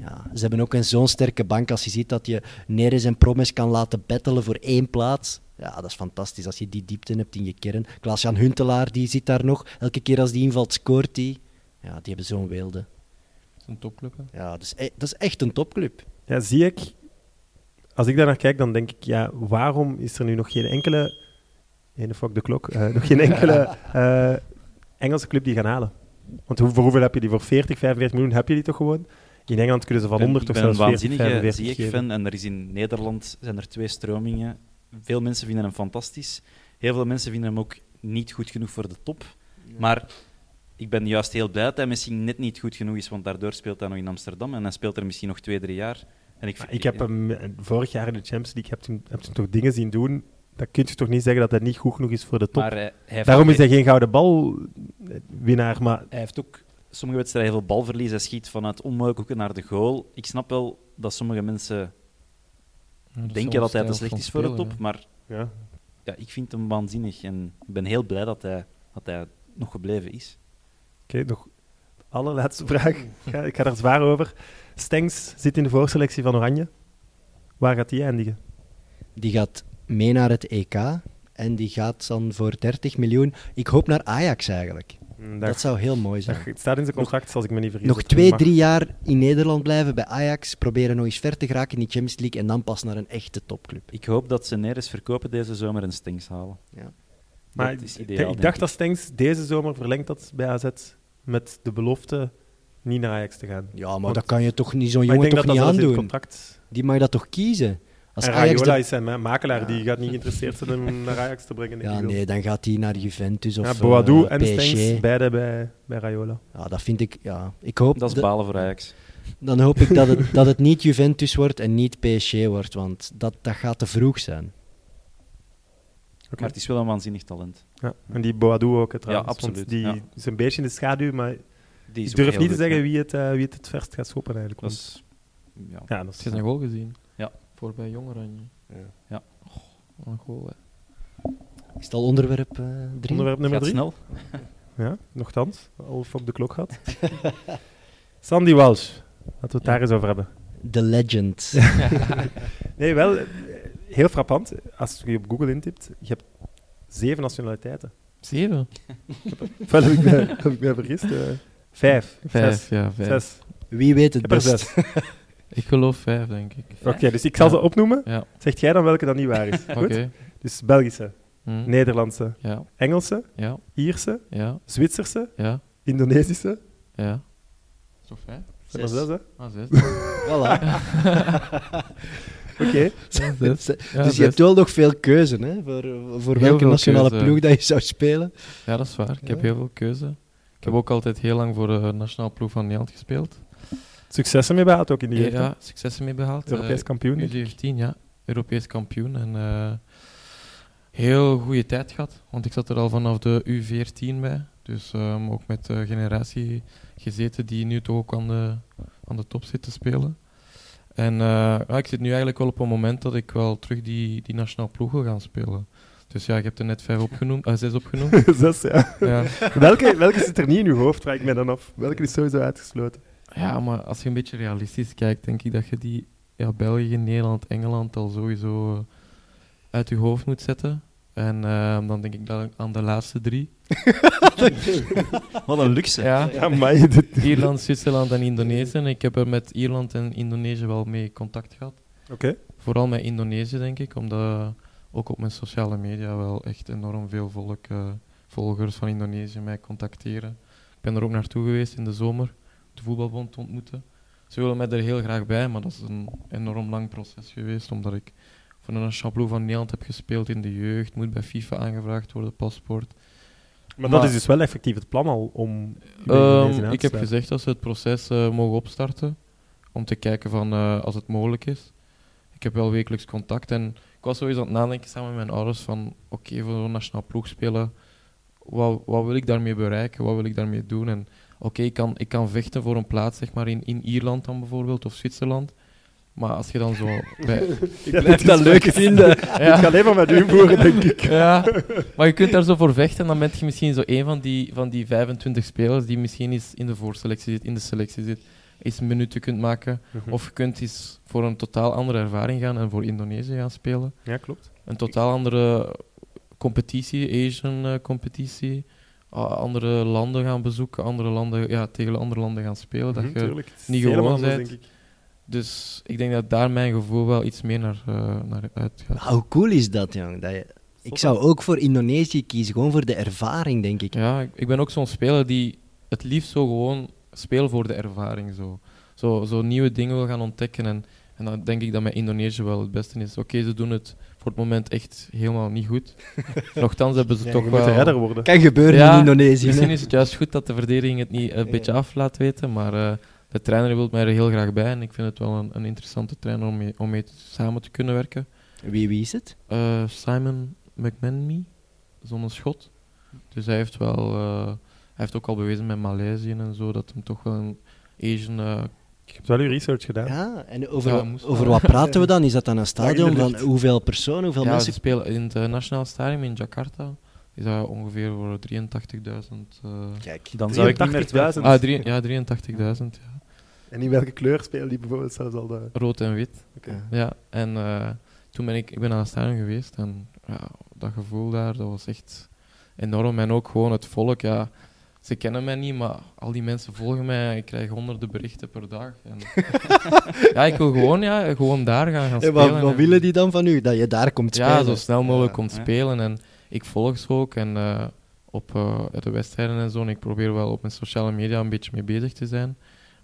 C: Ja, ze hebben ook een zo'n sterke bank. Als je ziet dat je Neres en Promes kan laten battelen voor één plaats. Ja, dat is fantastisch. Als je die diepte hebt in je kern. Klaas-Jan Huntelaar, die zit daar nog. Elke keer als die invalt, scoort die. Ja, die hebben zo'n weelde.
D: Het is een topclub, hè.
C: Ja, dat is, e- dat is echt een topclub.
B: Ja, zie ik... Als ik daar naar kijk, dan denk ik... Ja, waarom is er nu nog geen enkele... Nee, de fuck de klok. eh, nog geen enkele eh, Engelse club die gaan halen. Want hoe, voor hoeveel heb je die? Voor 40, 45 miljoen heb je die toch gewoon? In Engeland kunnen ze van
E: Ik ben-
B: 100
E: ik
B: toch
E: ben een
B: zelfs 40,
E: waanzinnige
B: 45 geven.
E: Ziyech-fan en er is in Nederland zijn er twee stromingen. Veel mensen vinden hem fantastisch. Heel veel mensen vinden hem ook niet goed genoeg voor de top. Maar ik ben juist heel blij dat hij misschien net niet goed genoeg is, want daardoor speelt hij nog in Amsterdam en hij speelt er misschien nog twee, drie jaar. En ik,
B: Maar
E: vind-
B: Ik heb hem eh, vorig jaar in de Champions League, ik heb toen, heb toen toch dingen zien doen dat kun je toch niet zeggen dat hij niet goed genoeg is voor de top.
E: Maar hij, hij heeft
B: Daarom
E: ook-
B: is hij geen gouden balwinnaar, maar
E: hij heeft ook sommige wedstrijden heel veel balverlies. Hij schiet vanuit onmogelijke hoeken naar de goal. Ik snap wel dat sommige mensen
D: Ja, is
E: denken
D: wel
E: dat hij te
D: stijl
E: slecht
D: van
E: is voor de
D: spelen,
E: top,
D: ja.
E: maar
B: ja.
E: ja, ik vind hem waanzinnig. En ik ben heel blij dat hij, dat hij nog gebleven is.
B: Oké, nog allerlaatste vraag. Ik ga, ik ga daar zwaar over. Stengs zit in de voorselectie van Oranje. Waar gaat hij eindigen?
C: Die gaat mee naar het EK en die gaat dan voor 30 miljoen. Ik hoop naar Ajax eigenlijk. Hmm, Dat zou heel mooi zijn.
B: het staat in zijn contract, als ik me niet vergis.
C: Nog
B: dat hij
C: twee,
B: mag.
C: drie jaar in Nederland blijven bij Ajax, proberen nog eens ver te geraken in die Champions League en dan pas naar een echte topclub.
E: Ik hoop dat ze Neres verkopen deze zomer en Stengs halen.
C: Ja.
B: Maar
E: dat is
B: ik-
E: ideaal,
B: ik
E: denk
B: dacht dat Stengs deze zomer verlengt dat bij AZ met de belofte niet naar Ajax te gaan. Maar
C: Ja, maar
B: Want-
C: Oh, dat kan je toch niet zo'n
B: ik
C: jongen
B: denk
C: toch
B: dat dat
C: niet
B: zelfs in het
C: aandoen.
B: contract...
C: Die mag dat toch kiezen? Als
B: en
C: Ajax
B: Raiola
C: de-
B: is zijn ma- makelaar,
C: Ja.
B: die gaat niet geïnteresseerd zijn om hem naar Ajax te brengen.
C: Ja,
B: Ik wil-
C: nee, dan gaat hij naar Juventus of
B: Ja,
C: eh,
B: Boadu en Stengs,
C: PSG.
B: beide bij, bij Raiola.
C: Ja, dat vind ik... Ja, ik hoop...
E: ik. Dat is
C: dat-
E: balen voor Ajax.
C: Dan hoop ik dat het, dat het niet Juventus wordt en niet PSG wordt, want dat, dat gaat te vroeg zijn.
B: Oké.
E: Maar het is wel een waanzinnig talent.
B: Ja, en die Boadu ook, hè, trouwens. want
E: absoluut,
B: die
E: ja.
B: is een beetje in de schaduw, maar
E: Die is
B: ik
E: ook
B: durf
E: heel
B: niet te
E: goed,
B: zeggen
E: ja.
B: wie het, eh, wie het het verst gaat schoppen eigenlijk.
E: Dat
B: want-
E: is- ja.
B: ja, dat
D: Heb
B: is, eh,
D: je zijn goal gezien?
E: Ja.
D: Voor bij Jong Oranje.
C: Ja.
E: Ja.
D: Oh, wat een goal, hè.
C: Is het al onderwerp eh drie?
B: onderwerp nummer
E: Gaat
B: drie.
E: snel.
B: Ja, nogthans. Al op de klok gehad. Sandy Walsh. Laten we het daar eens over hebben.
C: The Legend.
B: Nee, wel. eh, Heel frappant. Als je op Google intipt, je hebt zeven nationaliteiten.
D: Zeven?
B: Ofwel heb ik me, heb ik me vergist. eh, vijf.
D: Vijf,
B: Zes.
D: ja, vijf.
B: Zes.
C: Wie weet
B: Ik
C: het
B: heb er
C: best?
B: zes.
D: Ik geloof vijf, denk ik.
B: Oké, dus ik zal
D: Ja.
B: ze opnoemen.
D: Ja,
B: Zegt jij dan welke dat niet waar is?
D: oké.
B: Goed? Dus Belgische,
D: Hm.
B: Nederlandse,
D: Ja,
B: Engelse,
D: ja,
B: Ierse,
D: ja,
B: Zwitserse,
D: ja,
B: Indonesische.
D: ja. Is toch vijf?
B: Zijn er
C: Zes.
B: zes, hè?
D: Ah, zes.
C: Voilà.
B: Oké.
D: Ja, zes. Ja,
C: dus
D: zes.
C: je hebt wel nog veel keuze, hè? Voor, voor
D: Heel
C: welke
D: veel
C: nationale
D: keuze.
C: ploeg dat je zou spelen.
D: Ja, dat is waar. Ik heb
C: Ja.
D: heel veel keuze. Ik heb ook altijd heel lang voor de nationale ploeg van Nederland gespeeld.
B: Successen mee behaald ook in die jeugd. hè?
D: Ja, eh, successen mee behaald.
B: Het Europees
D: Eh,
B: kampioen. denk ik.
D: U17, ja. Europees kampioen. En eh, heel goede tijd gehad. Want ik zat er al vanaf de U14 bij. Dus ehm, ook met de generatie gezeten die nu toch ook aan de, aan de top zit te spelen. En eh, ja, ik zit nu eigenlijk wel op een moment dat ik wel terug die, die nationale ploeg wil gaan spelen. Dus ja, ik heb er net vijf opgenoemd, eh, zes opgenoemd.
B: Zes, ja.
D: ja.
B: welke, welke zit er niet in uw hoofd, vraag ik mij dan af. Welke is sowieso uitgesloten?
D: Ja, maar als je een beetje realistisch kijkt, denk ik dat je die ja, België, Nederland, Engeland al sowieso eh, uit je hoofd moet zetten. En ehm, dan denk ik dan aan de laatste drie.
E: Wat een luxe.
D: Ja.
B: Ja, maar je dit...
D: Ierland, Zwitserland en Indonesië. Ik heb er met Ierland en Indonesië wel mee contact gehad.
B: Oké.
D: Vooral met Indonesië, denk ik, omdat ook op mijn sociale media wel echt enorm veel volk, eh, volgers van Indonesië mij contacteren. Ik ben er ook naartoe geweest in de zomer, de voetbalbond te ontmoeten. Ze willen mij er heel graag bij, maar dat is een enorm lang proces geweest, omdat ik voor een champion van Nederland heb gespeeld in de jeugd, moet bij FIFA aangevraagd worden, paspoort.
B: Maar, dat
D: Maar-
B: is dus wel effectief het plan al om.
D: Ehm,
B: Indonesië aan te
D: ik heb
B: sluiten.
D: gezegd dat ze het proces eh, mogen opstarten. Om te kijken van, eh, als het mogelijk is. Ik heb wel wekelijks contact. En ik was sowieso aan het nadenken samen met mijn ouders van... Oké, voor een nationaal ploeg spelen. Wat, wat wil ik daarmee bereiken? Wat wil ik daarmee doen? En oké, ik, kan, ik kan vechten voor een plaats zeg maar, in, in Ierland dan bijvoorbeeld. Of Zwitserland. Maar als je dan zo... Bij,
B: Ik blijf dat leuk vinden. Ik ga alleen maar met u voeren, denk ik.
D: ja, maar je kunt daar zo voor vechten. En dan ben je misschien zo een van die, van die 25 spelers die misschien eens in de voorselectie zit, in de selectie zit, eens minuten kunt maken.
B: Hm.
D: Of je kunt eens voor een totaal andere ervaring gaan en voor Indonesië gaan spelen.
B: Ja, klopt.
D: Een totaal andere competitie, Asian eh, competitie. A- Andere landen gaan bezoeken, andere landen, ja, tegen andere landen gaan spelen. Oh, Dat je,
B: Mhm, Tuurlijk, het is
D: niet
B: helemaal
D: gewoon
B: anders,
D: bent.
B: denk ik.
D: dus ik denk dat daar mijn gevoel wel iets meer naar, eh, naar uitgaat.
C: Maar hoe cool is dat, jong? Dat je... Ik zou ook voor Indonesië kiezen, gewoon voor de ervaring, denk ik.
D: Ja, ik, ik ben ook zo'n speler die het liefst zo gewoon speel voor de ervaring. Zo, zo, zo nieuwe dingen wil gaan ontdekken. En, en dan denk ik dat met Indonesië wel het beste is. Oké, ze doen het voor het moment echt helemaal niet goed. Nochtans hebben ze
B: Ja,
D: toch
B: je moet
D: wel...
B: de redder worden.
C: Kan gebeuren
D: Ja,
C: in Indonesië.
D: Misschien
C: hè.
D: is het juist goed dat de verdediging het niet een beetje af laat weten. Maar eh, de trainer wil mij er heel graag bij. En ik vind het wel een, een interessante trainer om mee, om mee te- samen te kunnen werken.
C: Wie, wie is het?
D: Eh, Simon McManamy, zo'n schot. Dus hij heeft wel, eh, hij heeft ook al bewezen met Maleisië en zo dat hem toch wel een Asian. eh,
B: Je hebt wel uw research
C: Ja,
B: gedaan.
C: en over,
D: Ja,
C: wa-
D: moest
C: over
D: wel.
C: wat praten we dan? Is dat dan een stadion
B: Lang in de
C: van
B: lucht.
C: hoeveel personen, hoeveel
D: ja, ze
C: mensen?
D: spelen in het eh, Nationaal Stadium in Jakarta. Is dat ongeveer voor 83.000. eh
C: Kijk,
E: Dan zou ik niet meer
B: 83.000.
E: twijfelen.
D: ah, drie- ja, 83.000. ja.
B: En in welke kleur spelen die bijvoorbeeld zelfs al de...
D: Rood en wit.
B: Oké.
C: Ja.
D: Ja, en eh, toen ben ik, ik ben aan het stadion geweest en ja, dat gevoel daar, dat was echt enorm. En ook gewoon het volk, ja, ze kennen mij niet, maar al die mensen volgen mij en ik krijg honderden berichten per dag. En ja, ik wil gewoon, ja, gewoon daar gaan, gaan
C: En
D: spelen.
C: wat, wat
D: en-
C: willen die dan van u? Dat je daar komt spelen?
D: Ja, zo snel mogelijk
C: Ja,
D: komt
E: ja.
D: spelen en ik volg ze ook en eh, op eh, de wedstrijden en zo. En ik probeer wel op mijn sociale media een beetje mee bezig te zijn.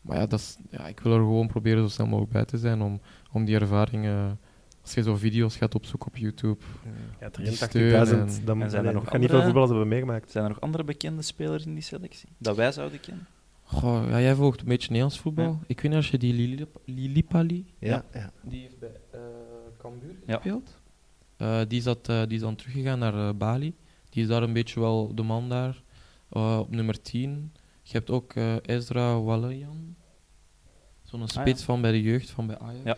D: Maar ja, dat is, ja ik wil er gewoon proberen zo snel mogelijk bij te zijn om, om die ervaring... eh, als je zo video's gaat opzoeken op YouTube.
B: Ja, 83.000.
D: steun en-
B: Dan
E: En zijn er
B: allee,
E: nog
B: dat gaat niet veel
E: andere?
B: voetballers hebben meegemaakt.
E: Zijn er nog andere bekende spelers in die selectie? Dat wij zouden kennen?
D: Goh, ja, jij volgt een beetje Nederlands voetbal. Ik weet niet als je die Lilip- Lilipali...
C: Ja, ja.
D: Die heeft bij eh, Cambuur
E: Ja.
D: gespeeld. die, zat, eh, die is dan teruggegaan naar eh, Bali. Die is daar een beetje wel de man daar. Eh, op nummer 10. Je hebt ook eh, Ezra Walayan. Zo'n spits van bij de jeugd, van bij Ajax.
E: Ah, Ja.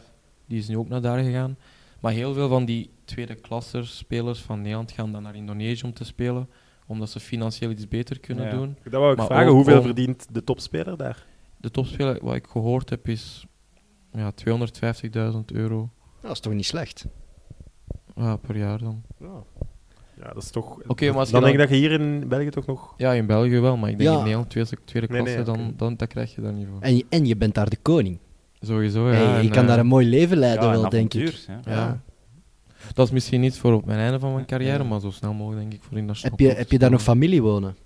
D: Die is nu ook naar daar gegaan. Maar heel veel van die tweede klassers spelers van Nederland gaan dan naar Indonesië om te spelen. Omdat ze financieel iets beter kunnen
E: Ja.
D: doen.
B: Dat wou ik
D: Maar
B: vragen.
D: ook
B: Hoeveel
D: om-
B: verdient de topspeler daar?
D: De topspeler, wat ik gehoord heb, is ja, 250.000 euro
C: Dat is toch niet slecht?
D: ah, per jaar dan.
B: Ja, dat is toch...
D: Oké, maar als je
B: dan denk ik
D: dan-
B: dat je hier in België toch nog...
D: Ja, in België wel, maar ik denk
C: Ja.
D: in Nederland tweede, tweede
B: Nee,
D: klasse,
B: nee,
D: dan,
B: oké.
D: dan dat krijg je daar niet voor.
C: En je, en je bent daar de koning.
D: Sowieso, ja.
C: Hey, je
D: en,
C: kan
D: eh,
C: daar een mooi leven leiden,
E: Ja, een
C: wel, denk ik.
E: avontuur, ja.
D: ja.
C: ja.
D: Dat is misschien niet voor op mijn einde van mijn carrière,
C: Ja.
D: maar zo snel mogelijk denk ik voor in nationaal
C: Heb je,
D: ploeg te
C: heb je daar nog
D: spelen.
C: familie wonen?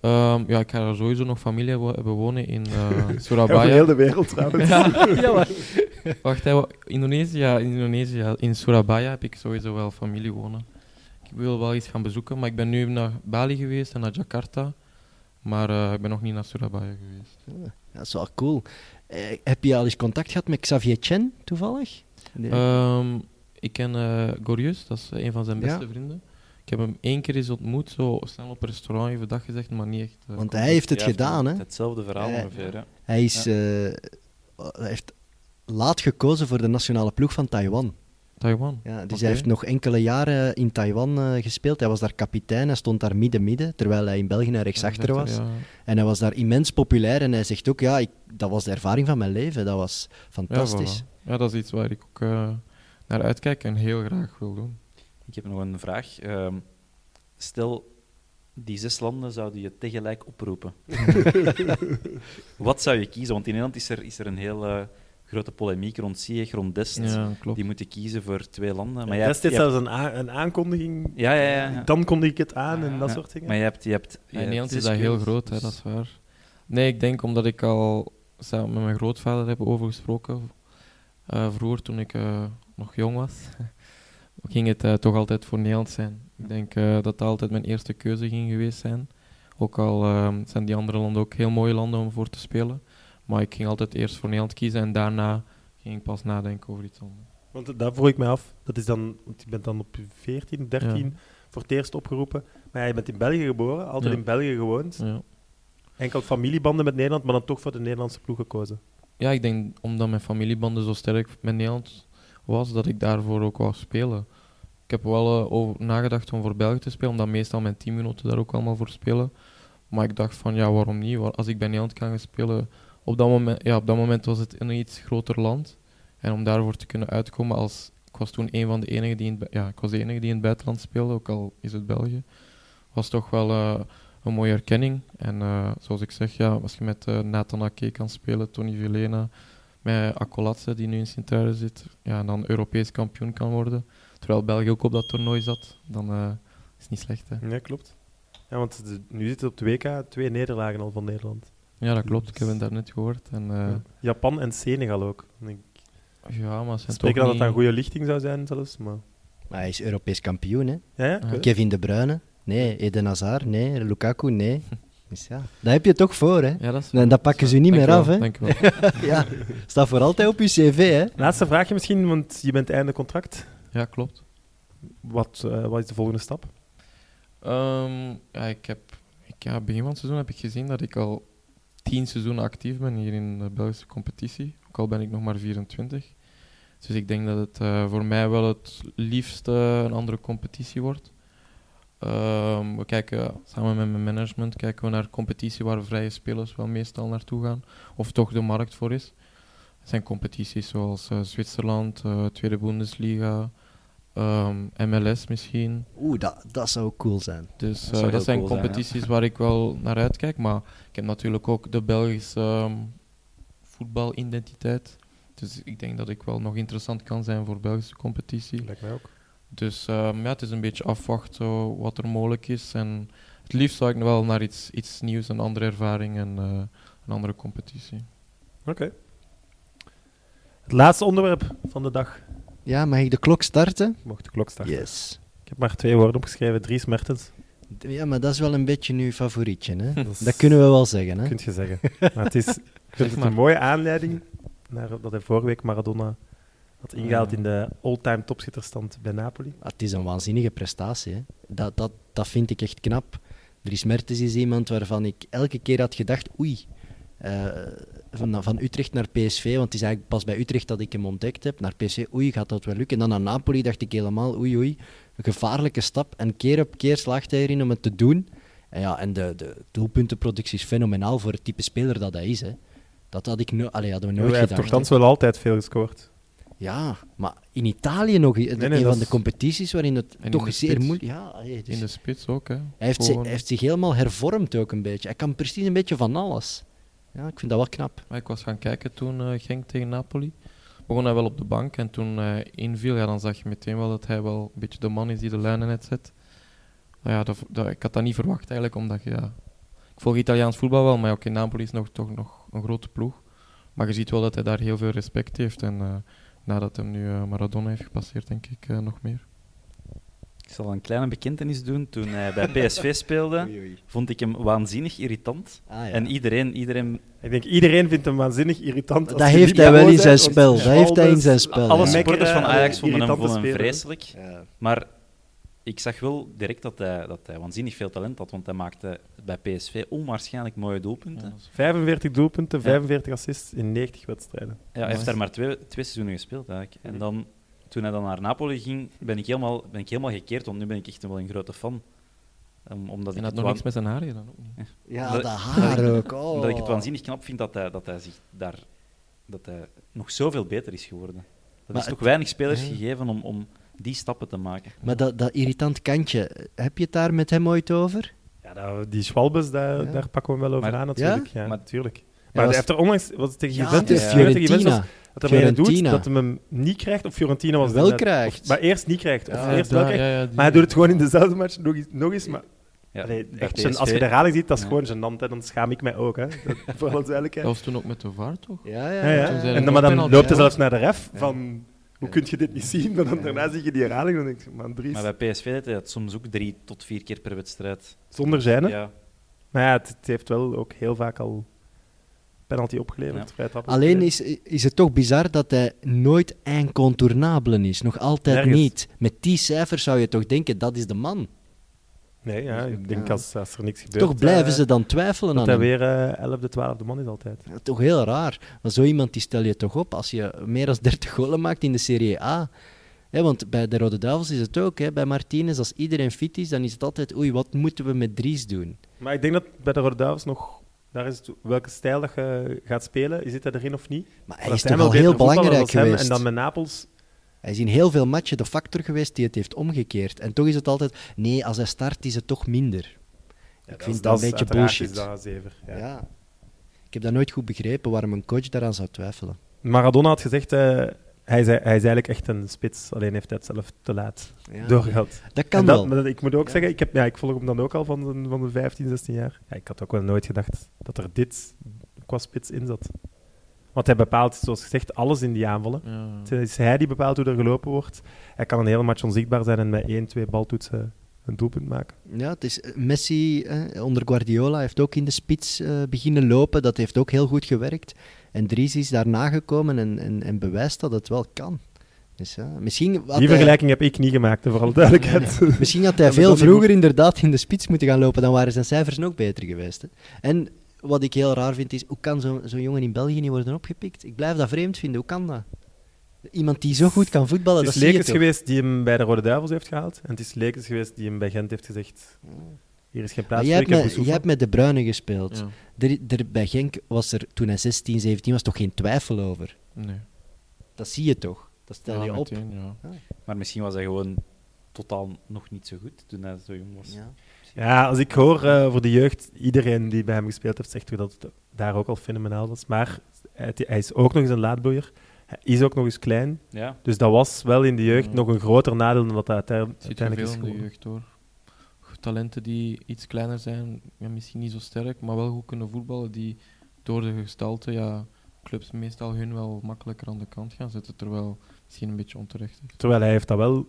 D: Ehm, ja, ik ga daar sowieso nog familie wo- hebben wonen in eh
B: Over heel
D: Surabaya.
B: de wereld trouwens.
D: Wacht, hè, wa- Indonesië, ja, Indonesië, ja. in Surabaya heb ik sowieso wel familie wonen. Ik wil wel iets gaan bezoeken, maar ik ben nu naar Bali geweest en naar Jakarta. Maar eh, ik ben nog niet naar Surabaya geweest.
C: Dat is wel cool. Eh, heb je al eens contact gehad met Xavier Chen, toevallig? Nee.
D: Ehm, ik ken eh Gorius, dat is een van zijn beste
C: Ja.
D: vrienden. Ik heb hem één keer eens ontmoet, zo snel op een restaurant, even dag gezegd, maar niet echt. eh,
C: Want
D: contact.
C: hij heeft het
E: Ja,
C: gedaan, hè?
E: Hetzelfde verhaal
C: Eh,
E: ongeveer, ja.
C: Hij, is, eh, hij heeft laat gekozen voor de nationale ploeg van Taiwan.
D: Taiwan.
C: Ja, dus
D: Oké.
C: hij heeft nog enkele jaren in Taiwan eh, gespeeld. Hij was daar kapitein, hij stond daar midden-midden, terwijl hij in België naar rechtsachter was.
D: Ja.
C: En hij was daar immens populair en hij zegt ook, ja, ik, dat was de ervaring van mijn leven. Dat was fantastisch.
D: Ja, voilà. ja, dat is iets waar ik ook eh, naar uitkijk en heel graag wil doen.
E: Ik heb nog een vraag. Ehm, stel, die zes landen zouden je tegelijk oproepen. Wat zou je kiezen? Want in Nederland is er, is er een heel eh, grote polemiek rond Sieg, rond Dest.
D: Ja, klopt.
E: Die moeten kiezen voor twee landen. Maar jij
B: dat is dit
E: jij
B: zelfs een, a- een aankondiging.
E: Ja, ja, ja, ja.
B: Dan kondig ik het aan en dat
E: Ja.
B: soort dingen.
E: Maar je hebt... Je hebt je
D: Ja, in Nederland
E: hebt
D: is
E: zes
D: dat heel
E: keuzes,
D: groot, hè,
E: dus-
D: dat is waar. Nee, ik denk omdat ik al samen met mijn grootvader heb over gesproken. eh, vroeger, toen ik eh, nog jong was, ging het eh, toch altijd voor Nederland zijn. Ik denk eh, dat dat altijd mijn eerste keuze ging geweest zijn. Ook al eh, zijn die andere landen ook heel mooie landen om voor te spelen. Maar ik ging altijd eerst voor Nederland kiezen en daarna ging ik pas nadenken over iets anders.
B: Want daar vroeg ik mij af. Dat is dan, want je bent dan op je 14, 13 voor het eerst opgeroepen. Maar ja, je bent in België geboren, altijd
D: Ja.
B: in België gewoond.
D: Ja.
B: Enkel familiebanden met Nederland, maar dan toch voor de Nederlandse ploeg gekozen.
D: Ja, ik denk omdat mijn familiebanden zo sterk met Nederland was, dat ik daarvoor ook wou spelen. Ik heb wel eh, over nagedacht om voor België te spelen, omdat meestal mijn teamgenoten daar ook allemaal voor spelen. Maar ik dacht van, ja, waarom niet? Wa- Als ik bij Nederland kan gaan spelen... Op dat moment, ja, op dat moment was het een iets groter land. En om daarvoor te kunnen uitkomen als... Ik was toen een van de enigen die in het, bu- ja, ik was de enige die in het buitenland speelde, ook al is het België. Was toch wel eh, een mooie erkenning. En eh, zoals ik zeg, ja, als je met eh, Nathan Ake kan spelen, Tony Villena, met Akolatse die nu in sint zit, ja, en dan Europees kampioen kan worden, terwijl België ook op dat toernooi zat, dan eh, is het niet slecht. Hè?
B: Ja, klopt. Ja, want de- nu zitten op de WK twee nederlagen al van Nederland.
D: Ja, dat klopt. Ik heb het daarnet gehoord. En, eh,
B: Japan en Senegal ook. En Ik
D: ja, maar ze zijn
B: spreek
D: toch
B: dat het
D: niet-
B: een goede lichting zou zijn zelfs, maar...
C: Maar hij is Europees kampioen, hè?
B: Ja, ja, ik
D: Ja.
B: weet het.
C: Kevin De Bruyne? Nee. Eden Hazard? Nee. Lukaku? Nee. Dus ja, daar heb je toch voor, hè?
D: Ja, dat is...
C: En dat pakken ze niet
D: Dank
C: meer
D: je wel,
C: af, hè?
D: dank je wel.
C: Ja, staat voor altijd op je cv, hè?
B: Laatste vraagje misschien, want je bent einde contract.
D: Ja, klopt.
B: Wat, eh, wat is de volgende stap?
D: Ehm, ja, ik heb, ik, ja, begin van het seizoen heb ik gezien dat ik al tien seizoenen actief ben hier in de Belgische competitie. Ook al ben ik nog maar 24. Dus ik denk dat het eh, voor mij wel het liefst eh, een andere competitie wordt. Ehm, we kijken samen met mijn management kijken we naar competitie waar vrije spelers wel meestal naartoe gaan. Of toch de markt voor is. Het zijn competities zoals eh, Zwitserland, eh, Tweede Bundesliga, ehm, MLS misschien.
C: Oeh, dat, dat zou cool zijn.
D: Dus eh,
E: Dat zou
D: dat,
E: heel
D: zijn
E: cool zijn, ja.
D: competities waar ik wel naar uitkijk. Maar ik heb natuurlijk ook de Belgische ehm, voetbalidentiteit. Dus ik denk dat ik wel nog interessant kan zijn voor Belgische competitie.
B: Lijkt mij ook.
D: Dus ehm, ja, het is een beetje afwachten zo, wat er mogelijk is. En het liefst zou ik wel naar iets, iets nieuws, een andere ervaring en eh, een andere competitie.
B: Oké. Het laatste onderwerp van de dag.
C: Ja, mag ik de klok starten?
B: Mocht de klok starten.
C: Yes.
B: Ik heb maar twee woorden opgeschreven. Dries Mertens.
C: D- Ja, maar dat is wel een beetje uw favorietje, hè?
B: Dat is-
C: Dat kunnen we wel zeggen, hè?
B: Kunt je zeggen. Maar het is, ik vind het
D: maar.
B: een mooie aanleiding naar dat hij vorige week Maradona had ingehaald in de all-time topschitterstand bij Napoli.
C: Ah, Het is een waanzinnige prestatie, hè? Dat, dat, dat vind ik echt knap. Dries Mertens is iemand waarvan ik elke keer had gedacht, oei, eh, van, van Utrecht naar PSV, want het is eigenlijk pas bij Utrecht dat ik hem ontdekt heb, naar PSV, oei, gaat dat wel lukken? En dan naar Napoli dacht ik helemaal, oei, oei, een gevaarlijke stap. En keer op keer slaagt hij erin om het te doen. En, ja, en de, de doelpuntenproductie is fenomenaal voor het type speler dat hij is, hè? Dat had ik no allee, hadden we nooit
B: hij heeft
C: gedacht.
B: toch wel altijd veel gescoord.
C: Ja, maar in Italië nog i-
B: nee,
C: een
B: dat
C: van
B: is-
C: de competities waarin het
D: in
C: toch
D: de
C: zeer
D: spits.
C: moeilijk ja, allee, dus
D: In de spits ook, hè.
C: Hij heeft, zich,
D: Gewoon-
C: hij heeft zich helemaal hervormd ook een beetje. Hij kan precies een beetje van alles. Ja, ik vind dat wel knap.
D: Maar ik was gaan kijken toen eh, Genk tegen Napoli. Begon hij wel op de bank en toen hij inviel, ja, dan zag je meteen wel dat hij wel een beetje de man is die de lijnen net zet. Nou ja, dat, dat- ik had dat niet verwacht eigenlijk, omdat je, ja, ik volg Italiaans voetbal wel, maar ja, oké, Napoli is nog, toch nog een grote ploeg. Maar je ziet wel dat hij daar heel veel respect heeft en eh, nadat hem nu eh, Maradona heeft gepasseerd, denk ik eh, nog meer.
E: Ik zal een kleine bekentenis doen. Toen hij bij PSV speelde, vond ik hem waanzinnig irritant.
C: Ah, ja.
E: En iedereen, iedereen
B: Ik denk, iedereen vindt hem waanzinnig irritant. als
C: Dat
B: je
C: heeft
B: niet
C: hij
B: bij
C: wel
B: ons
C: in zijn
B: bent,
C: spel.
B: want
C: Dat heeft hij in
B: Valdes-
C: zijn spel.
E: alle
B: ja.
E: supporters van
B: Mekkere,
E: Ajax vonden hem,
B: eh, irritante
E: vonden hem
B: speler.
E: vreselijk.
C: Ja.
E: Maar ik zag wel direct dat hij, dat hij waanzinnig veel talent had, want hij maakte bij PSV onwaarschijnlijk mooie doelpunten. Ja,
B: 45 doelpunten, 45 assists in 90 wedstrijden.
E: hij heeft
D: Nice.
E: daar maar twee, twee seizoenen gespeeld eigenlijk.
C: Mhm.
E: En dan, toen hij dan naar Napoli ging, ben ik helemaal, ben ik helemaal gekeerd, want nu ben ik echt wel een grote fan. Om- omdat
D: En dat
E: ik het
D: nog
E: wa-
D: niks met zijn haren dan ook niet.
C: Ja,
E: Omdat-
C: dat haar ook.
E: omdat ik het
C: oh.
E: waanzinnig knap vind dat hij, dat hij zich daar dat hij nog zoveel beter is geworden. Er
C: Maar
E: is toch
C: het-
E: weinig spelers
C: Ja.
E: gegeven om, om die stappen te maken.
C: Maar dat, dat irritant kantje, heb je het daar met hem ooit over?
B: Ja, dat- die Schwalbes, daar,
C: Ja.
B: daar pakken we hem wel over
E: Maar-
B: aan natuurlijk. Ja,
E: maar-
B: natuurlijk. Maar
C: was-
B: hij heeft er onlangs, was het tegen
C: Ja,
B: Juventus?
E: tegen
B: Ik weet tegen Juventus
C: Fiorentina.
B: Dat hij hem doet,
C: Fiorentina.
B: dat hij hem niet krijgt, of Fiorentina was het
C: Wel
B: inderdaad.
C: krijgt.
B: Of- maar eerst niet krijgt, of
C: Ja,
B: eerst wel
D: Ja,
B: krijgt.
D: ja, ja, die-
B: Maar hij doet het gewoon in dezelfde match nog eens. Nog eens maar
E: Ja,
B: Allee,
E: bij
B: echt,
E: PSV.
B: als je de herhaling ziet, dat is
E: Ja.
B: gewoon gênant. Hè. Dan schaam ik mij ook, hè. Dat, voor alle duidelijkheid.
D: Dat was toen ook met de vaart, toch?
C: Ja,
B: Ja,
C: ja.
D: Toen zei
B: ja. En
D: hij
B: dan,
D: nog
B: maar dan
D: penalty,
B: loopt hij
D: ja.
B: zelfs naar de ref
E: Ja.
B: van... Hoe
C: Ja.
B: kun je dit niet zien? Maar dan
C: Ja.
B: daarna zie je die herhaling en dan denk je... Man, Dries,
E: Maar bij PSV deed hij dat soms ook drie tot vier keer per wedstrijd.
B: zonder zijn,
E: Ja,
B: Maar ja, het, het heeft wel ook heel vaak al penalty opgeleverd.
E: Ja.
B: vrije trap
C: Alleen
B: opgeleverd.
C: is, is het toch bizar dat hij nooit incontournabelen is. Nog altijd
B: Nergens.
C: niet. Met die cijfers zou je toch denken, dat is de man.
B: Nee, ja,
E: Dus
B: ik denk
C: Ja.
B: als, als er niks gebeurt...
C: toch blijven
B: eh,
C: ze dan twijfelen
B: Dat
C: aan
B: hij
C: hem.
B: weer eh, 11e, 12e man is altijd.
C: Ja, Toch heel raar. Maar zo iemand die stel je toch op als je meer dan 30 golen maakt in de Serie A. Hè, want bij de Rode Duivels is het ook. Hè. Bij Martinez, als iedereen fit is, dan is het altijd... Oei, wat moeten we met Dries doen?
B: Maar ik denk dat bij de Rode Duivels nog... Daar is het, welke stijl dat je gaat spelen, zit hij erin of niet?
C: Maar
B: Dat
C: hij is
B: zijn
C: toch wel
B: betere
C: heel
B: voetballers
C: belangrijk
B: als hem.
C: geweest.
B: En dan met Napels...
C: Hij is in heel veel matchen de factor geweest die het heeft omgekeerd. En toch is het altijd... Nee, als hij start is het toch minder. ik vind dat een beetje bullshit. ja. Ik heb dat nooit goed begrepen, waarom een coach daaraan zou twijfelen.
B: Maradona had gezegd, eh, hij, zei, hij is eigenlijk echt een spits, alleen heeft hij het zelf te laat
C: Ja.
B: doorgehad.
C: Dat kan
B: En dat-
C: wel.
B: maar dat- ik moet ook
C: Ja.
B: zeggen, ik, heb, ja, ik volg hem dan ook al van, de- van de 15, 16 jaar. Ja, ik had ook wel nooit gedacht dat er dit qua spits in zat. Want hij bepaalt, zoals gezegd, alles in die aanvallen.
D: Ja.
B: Het is hij die bepaalt hoe er gelopen wordt. Hij kan een hele match onzichtbaar zijn en met 1, 2 baltoetsen een doelpunt maken.
C: Ja, het is eh, Messi eh, onder Guardiola heeft ook in de spits eh, beginnen lopen. Dat heeft ook heel goed gewerkt. En Dries is daarna gekomen en, en, en bewijst dat het wel kan. Dus ja, misschien, had
B: Die
C: hij,
B: vergelijking heb ik niet gemaakt, hè, voor alle duidelijkheid.
C: misschien had hij
B: Ja, maar
C: veel
B: dan-
C: vroeger inderdaad in de spits moeten gaan lopen, dan waren zijn cijfers nog beter geweest. Hè. En wat ik heel raar vind is, hoe kan zo'n zo'n jongen in België niet worden opgepikt? Ik blijf dat vreemd vinden, hoe kan dat? Iemand die zo goed kan voetballen,
B: Het is
C: dat zie je
B: Lekens
C: toch?
B: geweest die hem bij de Rode Duivels heeft gehaald. En het is Lekens geweest die hem bij Gent heeft gezegd... Hier is geen
C: Maar
B: plaats
C: jij
B: voor,
C: hebt,
B: ik heb
C: met,
B: Boussoufa.
C: jij hebt met De Bruyne gespeeld.
D: Ja.
C: Er, er, bij Genk was er toen hij 16, 17 was toch geen twijfel over?
D: Nee.
C: Dat zie je toch? Dat stel
D: Ja,
C: je op.
D: meteen, ja.
E: Maar misschien was hij gewoon totaal nog niet zo goed toen hij zo jong was.
C: Ja.
B: Ja, als ik hoor eh, voor de jeugd, iedereen die bij hem gespeeld heeft, zegt hoe dat het daar ook al fenomenaal was. Maar eh, het- hij is ook nog eens een laadboeier. Hij is ook nog eens klein.
E: Ja,
B: Dus dat was wel in de jeugd
D: Ja.
B: nog een groter nadeel dan dat hij uite-
D: Het zit er
B: uiteindelijk
D: veel
B: is
D: in de
B: geworden.
D: jeugd hoor. Talenten die iets kleiner zijn, ja, misschien niet zo sterk, maar wel goed kunnen voetballen, die door de gestalte ja, clubs meestal hun wel makkelijker aan de kant gaan zetten, terwijl misschien een beetje onterecht is.
B: Terwijl hij heeft dat wel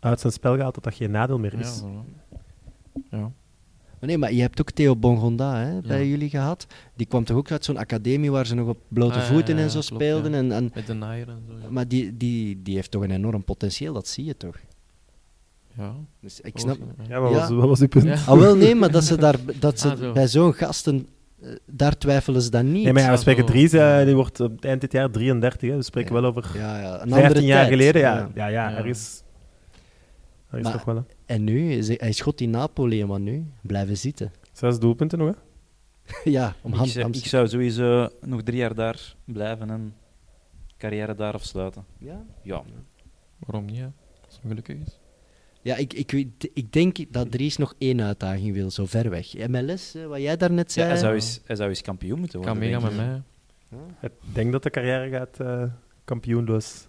B: uit zijn spel gehaald dat dat geen nadeel meer
D: Ja,
B: is.
D: voilà. ja.
C: Maar nee, maar je hebt ook Theo Bongonda hè, bij jullie gehad. Die kwam toch ook uit zo'n academie waar ze nog op blote
D: Ah, ja,
C: voeten
D: ja,
C: en zo
D: klopt,
C: speelden.
D: ja.
C: En, en,
D: met de naaier en zo. Ja,
C: maar die, die, die heeft toch een enorm potentieel, dat zie je toch?
D: ja.
C: Dus ik snap...
D: volgens mij, ja.
B: Ja, wat,
C: Ja.
B: Was, wat was uw punt?
D: Ja.
C: Ah, wel nee, maar dat ze, daar, dat ze
D: Ah, zo.
C: bij zo'n gasten, eh, daar twijfelen ze dan niet.
B: Nee, maar ja, we
D: Ja,
B: spreken
D: zo.
B: Dries, eh, die wordt op het eind dit jaar 33. Hè. We spreken
C: Ja.
B: wel over
C: ja, ja, een andere
B: 15 jaar
C: tijd.
B: geleden. Ja, ja, ja,
D: Ja.
B: er is, er is
C: Maar-
B: toch wel. hè.
C: En nu, is hij- hij schot in Napoli, maar nu blijven zitten.
B: Zes doelpunten nog, hè?
C: ja, om
E: ik,
C: hand,
E: zou,
C: hand-
E: ik zou sowieso nog drie jaar daar blijven en carrière daar afsluiten.
C: Ja,
E: Ja,
D: Waarom niet? Hè? Als hij gelukkig is.
C: ja ik, ik, weet- ik denk dat Dries nog één uitdaging wil, zo ver weg. MLS, eh, wat jij daarnet
E: ja
C: zei.
E: hij, zou eens, hij zou eens kampioen moeten worden.
D: Kan meegaan
E: denk
D: met
E: ik.
D: mij.
B: Ik denk dat de carrière gaat eh, kampioenloos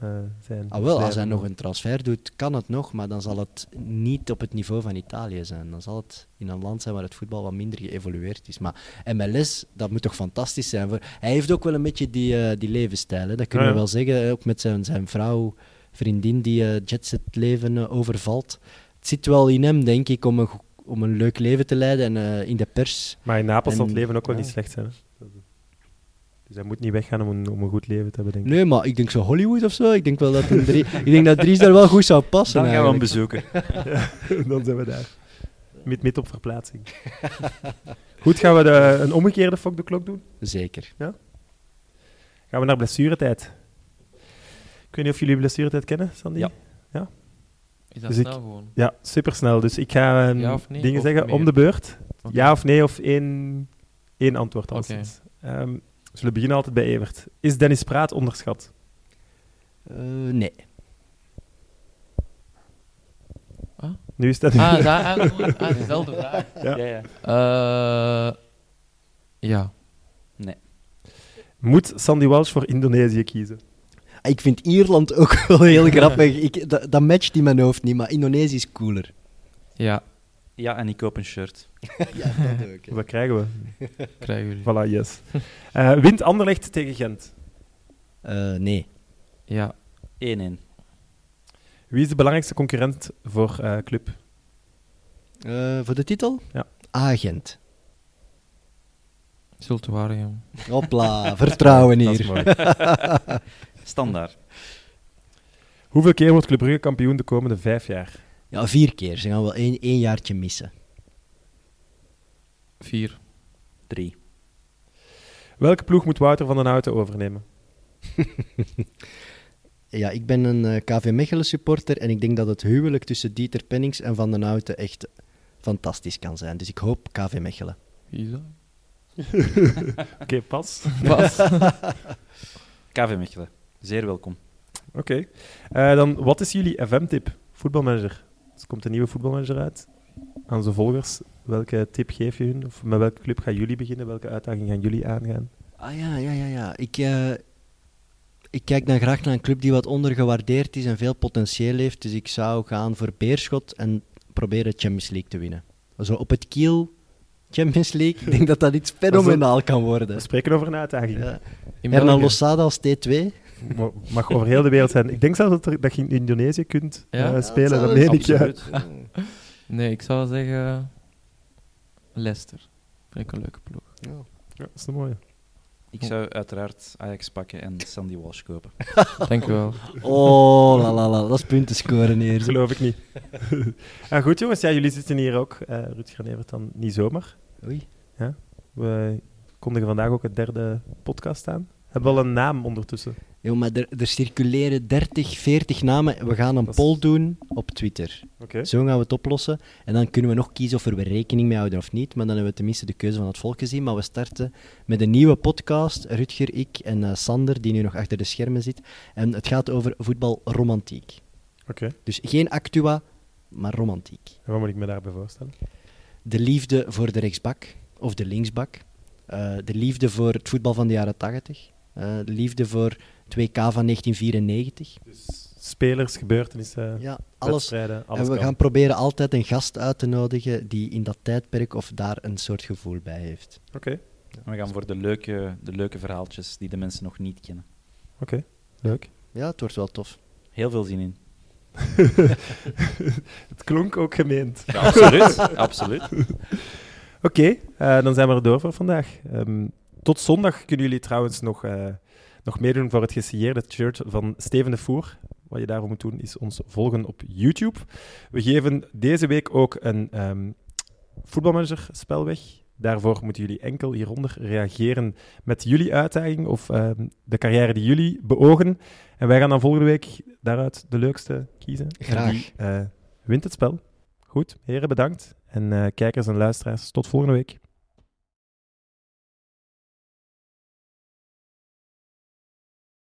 B: eh, zijn.
C: Ah, wel, als hij
B: Blijven.
C: nog een transfer doet, kan het nog, maar dan zal het niet op het niveau van Italië zijn. Dan zal het in een land zijn waar het voetbal wat minder geëvolueerd is. Maar MLS, dat moet toch fantastisch zijn. Voor... Hij heeft ook wel een beetje die, eh, die levensstijl, hè. dat kunnen
B: Ja,
C: we
B: ja.
C: wel zeggen. hè. Ook met zijn, zijn vrouw, vriendin, die eh jetset leven eh, overvalt. Het zit wel in hem, denk ik, om een, go- om een leuk leven te leiden. En eh, in de pers,
B: Maar in Napels zal het
C: En-
B: leven ook wel
C: ja.
B: niet slecht zijn. Hè? Dus hij moet niet weggaan om een, om een goed leven te hebben, denk ik.
C: nee, maar ik denk zo Hollywood of zo. Ik denk wel dat, een drie... ik denk dat Dries daar wel goed zou passen.
E: Dan gaan we hem
C: eigenlijk.
E: bezoeken.
B: Dan zijn we daar. Mit, mit op verplaatsing. goed, gaan we de, een omgekeerde fok de klok doen?
C: Zeker.
B: Gaan we naar blessuretijd? Ik weet niet of jullie blessuretijd kennen, Sandy?
E: Ja.
D: Is dat
B: Dus ik-
D: snel gewoon?
B: Ja, supersnel. Dus ik ga eh,
D: Ja of nee,
B: dingen
D: of
B: zeggen om
D: meer?
B: de beurt.
D: Oké.
B: Ja of nee, of één, één antwoord. alleszins. Ehm, we zullen beginnen altijd bij Evert. Is Dennis Praat onderschat?
C: Eh, nee.
B: Nu is dat...
D: Ah, daar, ah, goed. ah, dezelfde vraag.
B: Ja.
E: Ja, ja.
D: Eh, ja.
B: Moet Sandy Walsh voor Indonesië kiezen?
C: Ik vind Ierland ook wel heel grappig. Ik, dat, dat matcht in mijn hoofd niet, maar Indonesië is cooler.
D: Ja,
E: ja, en ik koop een shirt.
C: ja, dat ook.
B: Wat krijgen we?
D: krijgen jullie.
B: Voilà, yes. Eh wint Anderlecht tegen Gent.
C: Eh, nee.
D: Ja,
E: 1-1.
B: Wie is de belangrijkste concurrent voor eh, club?
C: Eh, voor de titel?
B: Ja.
C: Agent.
D: Zultuarium.
C: Hopla, vertrouwen
B: Dat is
C: hier.
B: mooi.
E: Standaard.
B: Hoeveel keer wordt Club Brugge kampioen de komende vijf jaar?
C: Ja, vier keer. Ze gaan wel één, één jaartje missen.
D: Vier.
E: 3.
B: Welke ploeg moet Wouter van den Houten overnemen?
C: Ja, ik ben een eh, KV Mechelen supporter en ik denk dat het huwelijk tussen Dieter Pennings en Van den Houten echt fantastisch kan zijn. Dus ik hoop KV Mechelen.
D: Wie is dat?
B: Oké, pas.
E: KV Mechelen. Zeer welkom.
B: Oké. Eh, dan, wat is jullie FM-tip? Voetbalmanager. Dus er komt een nieuwe voetbalmanager uit. Aan zijn volgers, welke tip geef je hun? Of met welke club gaan jullie beginnen? Welke uitdaging gaan jullie aangaan?
C: Ah ja, ja, ja, ja. Ik, eh, ik kijk dan graag naar een club die wat ondergewaardeerd is en veel potentieel heeft. Dus ik zou gaan voor Beerschot en proberen Champions League te winnen. Zo op het kiel, Champions League. Ik denk dat dat iets fenomenaal kan
B: We
C: worden.
B: spreken over een uitdaging.
C: Ja.
D: In
C: Hernan
D: België.
C: Losada als T2.
B: Mo- Mag over heel de wereld zijn. Ik denk zelfs dat, er- dat je in Indonesië kunt
D: Ja?
B: eh,
D: Ja, dat
B: spelen.
C: zou
B: Dat
C: wel
B: meen ik, ja.
E: Absoluut.
D: Nee, ik zou zeggen... Leicester. Vind ik een leuke ploeg.
B: Ja, dat is een mooie.
E: Ik zou uiteraard Ajax pakken en Sandy Walsh kopen.
D: Dank u wel.
C: Oh, la la la, dat is punten scoren
B: Dat
C: hier.
B: geloof ik niet. Ah, goed, jongens. Ja, jullie zitten hier ook. Eh Rutger en Evert dan niet zomaar.
C: Oei.
B: We kondigen vandaag ook het derde podcast aan. Hebben we al een naam ondertussen?
C: Yo, maar er, er circuleren 30, 40 namen. We gaan een
B: Dat is-
C: poll doen op Twitter.
B: Oké.
C: Zo gaan we het oplossen. En dan kunnen we nog kiezen of er we rekening mee houden of niet. Maar dan hebben we tenminste de keuze van het volk gezien. Maar we starten met een nieuwe podcast. Rutger, ik en eh, Sander, die nu nog achter de schermen zit. En het gaat over voetbalromantiek.
B: Oké.
C: Dus geen actua, maar romantiek.
B: En wat moet ik me daarbij voorstellen?
C: De liefde voor de rechtsbak of de linksbak. Eh, de liefde voor het voetbal van de jaren 80. Eh, de liefde voor het WK van 1994.
B: Dus Spelers, gebeurtenissen,
C: Ja, alles.
B: wedstrijden, alles
C: En we
B: kan.
C: gaan proberen altijd een gast uit te nodigen die in dat tijdperk of daar een soort gevoel bij heeft.
B: Oké,
E: En we gaan voor de leuke, de leuke verhaaltjes die de mensen nog niet kennen.
B: leuk.
C: Ja, het wordt wel tof.
E: Heel veel zin in.
B: Het klonk ook gemeend.
E: Ja, absoluut. absoluut.
B: Oké, eh, dan zijn we er door voor vandaag. Ehm, tot zondag kunnen jullie trouwens nog, eh, nog meedoen voor het gesieerde shirt van Steven de Voer. Wat je daarvoor moet doen is ons volgen op YouTube. We geven deze week ook een ehm voetbalmanager spel weg. Daarvoor moeten jullie enkel hieronder reageren met jullie uitdaging of ehm, de carrière die jullie beogen. En wij gaan dan volgende week daaruit de leukste kiezen.
C: Graag.
B: Die eh, wint het spel. Goed, heren bedankt. En eh, kijkers en luisteraars, tot volgende week.